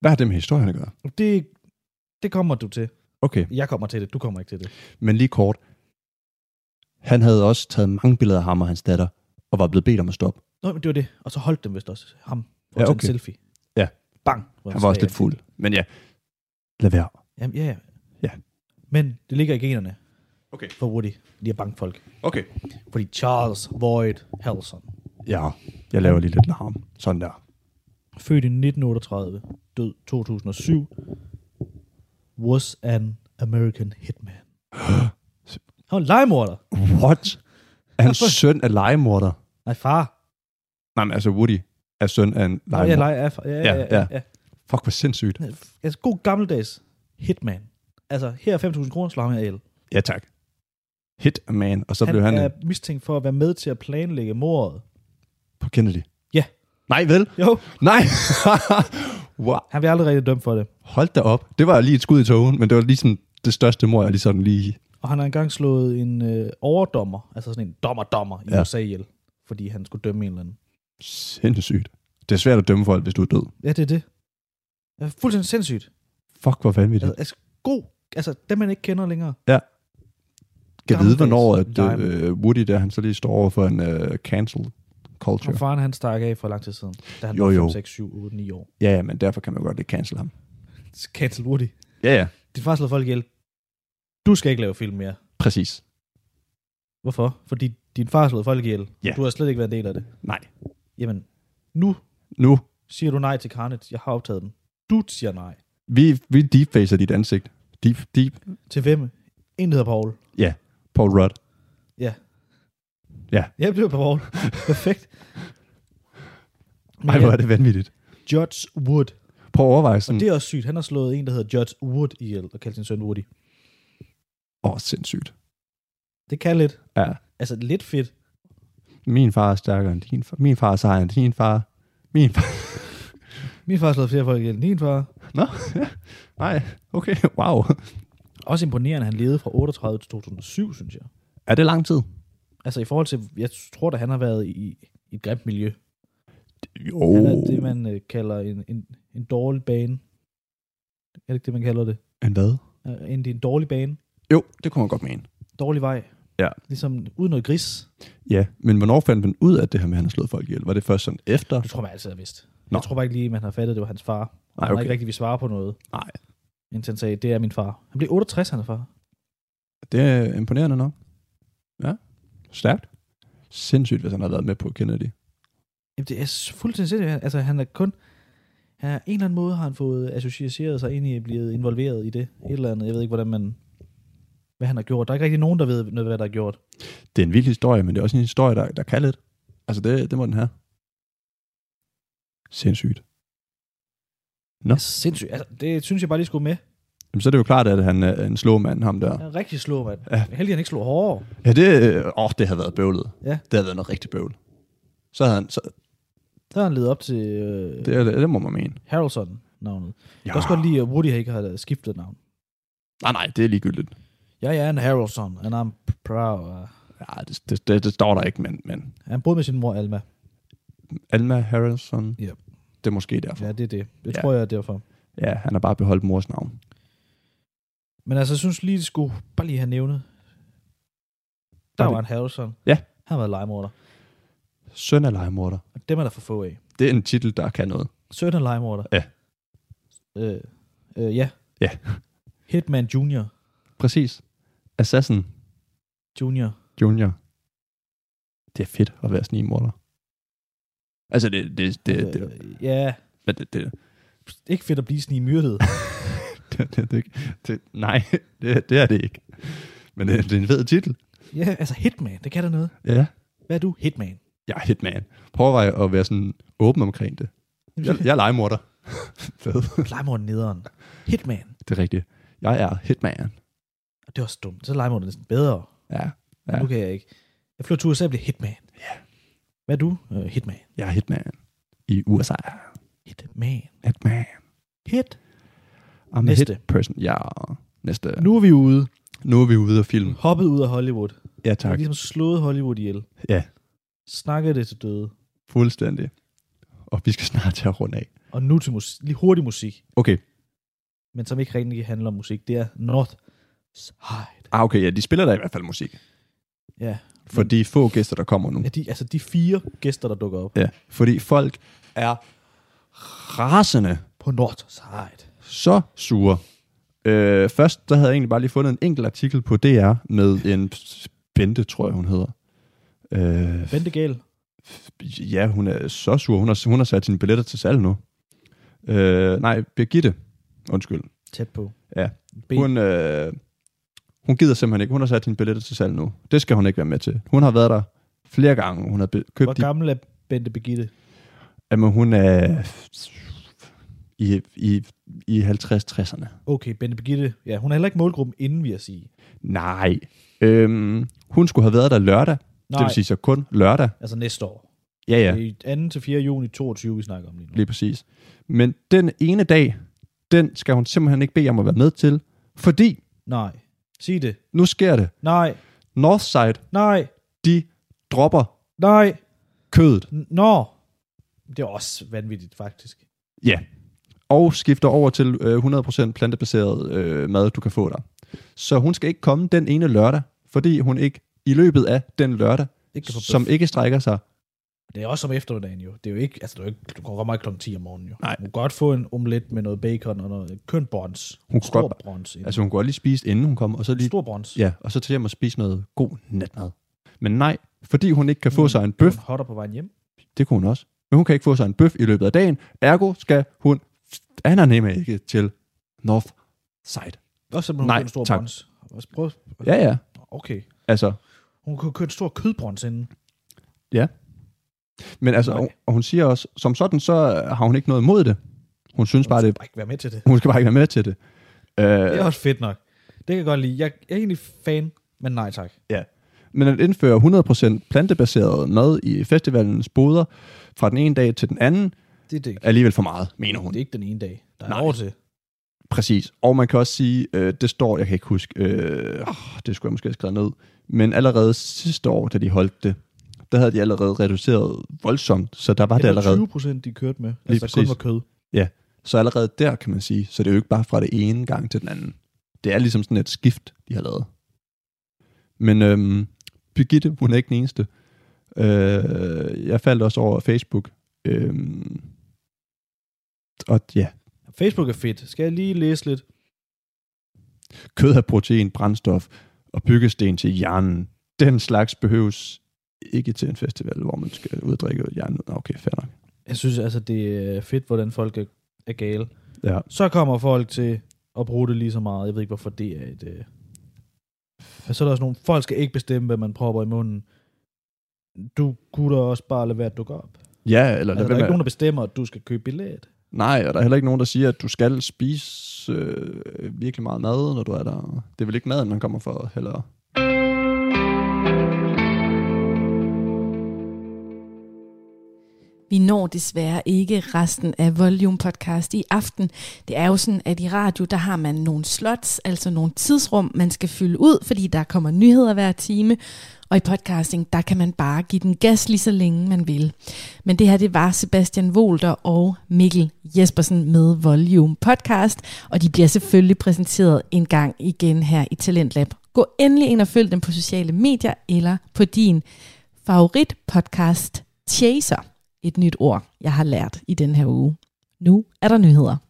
S2: Hvad har det med historien at gøre?
S3: Og Det, det kommer du til.
S2: Okay.
S3: Jeg kommer til det, du kommer ikke til det.
S2: Men lige kort. Han havde også taget mange billeder af ham og hans datter, og var blevet bedt om at stoppe.
S3: Nå, men det var det. Og så holdt dem vist også ham for
S2: Ja,
S3: ja, okay.
S2: okay.
S3: en selfie.
S2: Ja.
S3: Bang.
S2: Han var også lidt fuld. Men ja, lad være.
S3: Jamen, ja, ja.
S2: Ja.
S3: Men det ligger i generne
S2: Okay.
S3: for Woody, lige at banke folk.
S2: Okay.
S3: Fordi Charles Void Harrelson,
S2: Ja, jeg laver lige lidt larm. Sådan [gasps] der.
S3: født i 1938, død 2007, was an American hitman. Han var en legemorder.
S2: What? Er han søn af legemorder?
S3: Nej, far.
S2: Nej, men altså Woody er søn af en
S3: Nå, ja,
S2: legemorder.
S3: lege, ja, far. ja,
S2: Ja,
S3: ja, ja,
S2: ja.
S3: ja, ja.
S2: Fuck, hvor sindssygt.
S3: Altså, god gammeldags hitman. Altså, her er 5.000 kroner, slår ham ihjel.
S2: Ja, tak. Hit a man, og så
S3: han
S2: blev han øh,
S3: er
S2: en-
S3: mistænkt for at være med til at planlægge mordet.
S2: på Kennedy.
S3: Ja.
S2: Nej, vel?
S3: Jo,
S2: Nej! [laughs] wow.
S3: han bliver aldrig rigtig dømt for det.
S2: Hold da op. Det var lige et skud i togen, men det var lige sådan det største mor, jeg lige sådan lige...
S3: Og han har engang slået en øh, overdommer, altså sådan en dommer-dommer i
S2: Ja.
S3: ja. USA ihjel, fordi han skulle dømme en eller anden.
S2: Sindssygt. Det er svært at dømme folk, hvis du er død.
S3: Ja, det er det. Det er fuldstændig sindssygt.
S2: Fuck, hvor vanvittigt.
S3: Altså, altså, god, altså dem man ikke kender længere.
S2: Kan vide, hvornår at,
S3: gammeldags
S2: øh, Woody der, han så lige står over for en øh, cancel
S3: Sure.
S2: culture.
S3: Og faren han stak af for lang tid siden, da han
S2: Jo,
S3: jo, var
S2: jo.
S3: 5, 6, 7, 8, 9 år.
S2: Ja, ja, men derfor kan man jo godt ikke cancel ham.
S3: Cancel Woody.
S2: Ja, ja.
S3: Din far slår folk ihjel. Du skal ikke lave film mere.
S2: Præcis.
S3: Hvorfor? Fordi din far slog folk ihjel.
S2: Ja.
S3: Du har slet ikke været en del af det.
S2: Nej.
S3: Jamen, nu
S2: Nu,
S3: siger du nej til Carnage. Jeg har optaget den. Du siger nej.
S2: vi, vi deepfacer dit ansigt. Deep, deep.
S3: Til hvem? En der hedder Paul.
S2: Paul Rudd.
S3: Ja, det blev Paul. [laughs] Perfekt. Men
S2: Nej, hvor er det Mm. vanvittigt.
S3: Judge Wood.
S2: Prøv at overveje
S3: Og
S2: sådan...
S3: det er også sygt. Han har slået en, der hedder Judge Wood ihjel, og kaldt sin søn Woody.
S2: Åh, oh, sindssygt.
S3: Det kan lidt.
S2: Ja.
S3: Altså, lidt fedt.
S2: Min far er stærkere end din far. Min far er sejere end din far. Min far...
S3: Min far har slået flere folk ihjel end din far.
S2: Nå, ja. Nej, okay, [laughs] wow.
S3: Også imponerende, at han levede fra 38 til 2007, synes jeg.
S2: Er det lang tid?
S3: Altså, i forhold til... Jeg tror da, han har været i, i et grimt miljø.
S2: Jo.
S3: Han er det, man øh, kalder en, en, en dårlig bane. Er det ikke det, man kalder det?
S2: En hvad?
S3: Er- Endt i en dårlig bane.
S2: Jo, det kunne man godt mene.
S3: Dårlig vej.
S2: Ja.
S3: Ligesom uden noget gris.
S2: Ja, men hvornår fandt man ud af det her med, at han har slået folk ihjel? Var det først sådan efter?
S3: Det tror man altid har vidst.
S2: Nå.
S3: Nå. Jeg tror bare ikke lige, man har fattet, at det var hans far.
S2: Nej,
S3: Han har
S2: okay.
S3: ikke rigtig vi svare på noget,
S2: Nej,
S3: indtil han sagde, det er min far. Han blev 68, han er far.
S2: det er imponerende nok. Ja, stærkt. Sindssygt, hvis han har været med på Kennedy.
S3: Jamen, det er s- fuldstændig sindssygt. Altså, han er kun... Han er, en eller anden måde har han fået associeret sig ind i, blevet involveret i det. Et eller andet. Jeg ved ikke, hvordan man... Hvad han har gjort. Der er ikke rigtig nogen, der ved, noget, hvad der er gjort.
S2: Det er en vild historie, men det er også en historie, der, der kan lidt. Altså, det, det må den have. Sindssygt. Nå.
S3: Sindssygt. Altså, det synes jeg bare lige skulle med.
S2: Jamen, så er det jo klart, at han er en slåmand, ham der.
S3: Han er rigtig slå, mand.
S2: Ja.
S3: Ja. Heldig, han ikke slog hårdere.
S2: Ja, det, øh, åh, det havde været bøvlet.
S3: Ja.
S2: Det havde været noget rigtig bøvl. Så havde han, så,
S3: Der har han ledet op til øh,
S2: det, det, det må man mene.
S3: Harrelson-navnet. Ja.
S2: Ja.
S3: Jeg kan også godt lide, at Woody ikke har skiftet navn.
S2: øh, Nej, nej, det er ligegyldigt.
S3: Jeg er en Harrelson, and I'm proud.
S2: Ja, det, det, det, det står der ikke, men, men
S3: Han boede med sin mor, Alma.
S2: Alma Harrison,
S3: Ja.
S2: det er måske derfor.
S3: Ja,
S2: Ja.
S3: det er det. Det
S2: Ja.
S3: ja. tror jeg er derfor.
S2: ja, han har bare beholdt mors navn.
S3: Men altså, jeg synes lige, det skulle bare lige have nævnet. Der
S2: Var det-
S3: var en Harrelson.
S2: Ja.
S3: Han var legemorder.
S2: Søn af legemorder.
S3: Og dem er der for få af.
S2: Det er en titel, der kan noget.
S3: Søn af legemorder.
S2: Ja.
S3: Øh, øh, ja.
S2: Ja. [laughs]
S3: Hitman Junior.
S2: Præcis. Assassin
S3: Junior.
S2: Junior. Det er fedt at være snigmorder. Altså, det, det, det, det, det,
S3: Øh, ja.
S2: men det, det,
S3: Ikke fedt at blive sådan i myrdet.
S2: [laughs] det, det, det, det nej, [laughs] det, det er det ikke. Men det, det er en fed titel.
S3: ja, altså Hitman, det kan der noget.
S2: Ja,
S3: Hvad er du? Hitman.
S2: jeg er hitman. Prøv at veje at være sådan åben omkring det. Jeg, jeg er legemorder. [laughs] Fed.
S3: Legemorden nederen. Hitman.
S2: Det er rigtigt. Jeg er hitman.
S3: Og det er også dumt. Så er legemorden næsten bedre.
S2: Ja,
S3: Ja. Nu kan jeg ikke. Jeg flytter til USA og bliver Hitman.
S2: Ja.
S3: Hvad er du? Øh, hitman.
S2: jeg er hitman. I USA.
S3: Hitman.
S2: Hitman.
S3: Hit.
S2: I'm
S3: Næste.
S2: a hit person. Ja, næste.
S3: Nu er vi ude.
S2: Nu er vi ude af film.
S3: Hoppet ud af Hollywood.
S2: Ja,
S3: Vi har
S2: tak.
S3: ligesom slået Hollywood ihjel.
S2: Ja.
S3: Snakker det til døde.
S2: Fuldstændig. Og vi skal snart til at runde af.
S3: Og nu til musik. Lige hurtig musik.
S2: Okay.
S3: Men som ikke rigtig handler om musik. Det er North Side.
S2: Ah, okay, ja, de spiller da i hvert fald musik.
S3: Ja.
S2: For de få gæster, der kommer nu.
S3: ja de, altså de fire gæster, der dukker op
S2: Ja, fordi folk er rasende
S3: på North Side.
S2: så sure. Øh, først, der havde jeg egentlig bare lige fundet en enkelt artikel på DR med en Bente, tror jeg, hun hedder. Øh,
S3: Bente Gale.
S2: ja, hun er så sur. Hun har, hun har sat sine billetter til salg nu. Øh, nej, Birgitte. Undskyld.
S3: Tæt på.
S2: Ja.
S3: B.
S2: Hun, øh, hun gider simpelthen ikke. Hun har sat sine billetter til salg nu. Det skal hun ikke være med til. Hun har været der flere gange. Hun har be- købt
S3: Hvor
S2: de
S3: gammel er Bente Begitte?
S2: Jamen, hun er i, i, i 50-60'erne.
S3: Okay, Bente Begitte. Ja, hun er heller ikke målgruppen inden, vi at sige.
S2: Nej. Øhm, hun skulle have været der lørdag. Nej. Det
S3: Nej.
S2: vil sige så kun lørdag.
S3: Altså næste år.
S2: Ja,
S3: Ja.
S2: ja,
S3: Det er i 2. til 4. juni 22, vi snakker om lige nu.
S2: lige præcis. Men den ene dag, den skal hun simpelthen ikke bede om at være med til, fordi
S3: Nej. Sig det.
S2: nu sker det.
S3: Nej.
S2: Northside,
S3: Nej.
S2: de dropper
S3: Nej.
S2: kødet.
S3: N- Nå. Det er også vanvittigt, faktisk.
S2: Ja. Og skifter over til øh, 100% plantebaseret øh, mad, du kan få der. Så hun skal ikke komme den ene lørdag, fordi hun ikke i løbet af den lørdag,
S3: Ikke kan få
S2: som ikke strækker sig
S3: Det er også om eftermiddagen jo. Det er jo ikke, altså det er jo ikke, du kan godt ikke klokken 10 om morgenen jo.
S2: Nej.
S3: Du kan godt få en omelet med noget bacon og noget køn brons.
S2: Hun kunne
S3: stor
S2: godt-
S3: brons. En
S2: Altså hun kunne godt lige spise, inden hun kom, og så lige,
S3: stor brons.
S2: ja, og så til hjem og spise noget god natmad. Men nej, fordi hun ikke kan få sig en bøf,
S3: En hotter på vejen hjem.
S2: det kunne hun også, men hun kan ikke få sig en bøf i løbet af dagen, ergo skal hun ananemme ikke til North Side.
S3: Også selvom hun
S2: Nej,
S3: kører en stor
S2: tak.
S3: brons. Også prøv,
S2: Ja, ja,
S3: okay.
S2: altså,
S3: Hun kunne køre en stor kødbrons inden.
S2: men altså,
S3: Nej.
S2: og, og hun siger også, som sådan, så har hun ikke noget imod det. Hun synes bare, det,
S3: Bare ikke være med til det.
S2: hun skal bare ikke være med til det.
S3: Det er
S2: Øh,
S3: også fedt nok. Det kan jeg godt lide. Jeg, jeg er egentlig fan, men nej tak.
S2: men at indføre 100% plantebaseret mad i festivalens boder fra den ene dag til den anden,
S3: Det er det ikke.
S2: er alligevel for meget, mener hun.
S3: Det er ikke den ene dag, der er
S2: Nej.
S3: Nej. over til.
S2: Præcis. Og man kan også sige, øh, det står, jeg kan ikke huske, øh, åh, det skulle jeg måske have skrevet ned, men allerede sidste år, da de holdt det, der havde de allerede reduceret voldsomt, så der var det
S3: Det var
S2: allerede.
S3: 20 procent, de kørte med.
S2: Lige
S3: Altså, der kun
S2: præcis.
S3: var kød.
S2: Så allerede der, kan man sige, så det er jo ikke bare fra det ene gang til den anden. Det er ligesom sådan et skift, de har lavet. Men øhm, Birgitte, hun er ikke den eneste. Øh, jeg faldt også over Facebook. Øhm, og ja,
S3: Facebook er fedt. Skal jeg lige læse lidt?
S2: kød er protein, brændstof og byggesten til hjernen. Den slags behøves ikke til en festival, hvor man skal uddrikke hjernen. Nå, Okay, fair nok.
S3: Jeg synes altså, det er fedt, hvordan folk er, er gale.
S2: Ja.
S3: Så kommer folk til at bruge det lige så meget. Jeg ved ikke, hvorfor det er et... Øh... Men så er der også nogle... Folk skal ikke bestemme, hvad man propper i munden. Du kunne da også bare lade være at dukke op.
S2: Ja, eller
S3: Altså,
S2: altså,
S3: der er ikke
S2: med.
S3: nogen, der bestemmer, at du skal købe billet.
S2: Nej, og der er heller ikke nogen, der siger, at du skal spise øh, virkelig meget mad, når du er der. Det er vel ikke maden, man kommer for, heller.
S1: Vi når desværre ikke resten af Volume Podcast i aften. Det er jo sådan, at i radio, der har man nogle slots, altså nogle tidsrum, man skal fylde ud, fordi der kommer nyheder hver time. Og i podcasting, der kan man bare give den gas lige så længe man vil. Men det her, det var Sebastian Volter og Mikkel Jespersen med Volume Podcast. Og de bliver selvfølgelig præsenteret en gang igen her i Talentlab. Gå endelig ind og følg dem på sociale medier eller på din favorit podcast chaser, et nyt ord, jeg har lært i den her uge. Nu er der nyheder.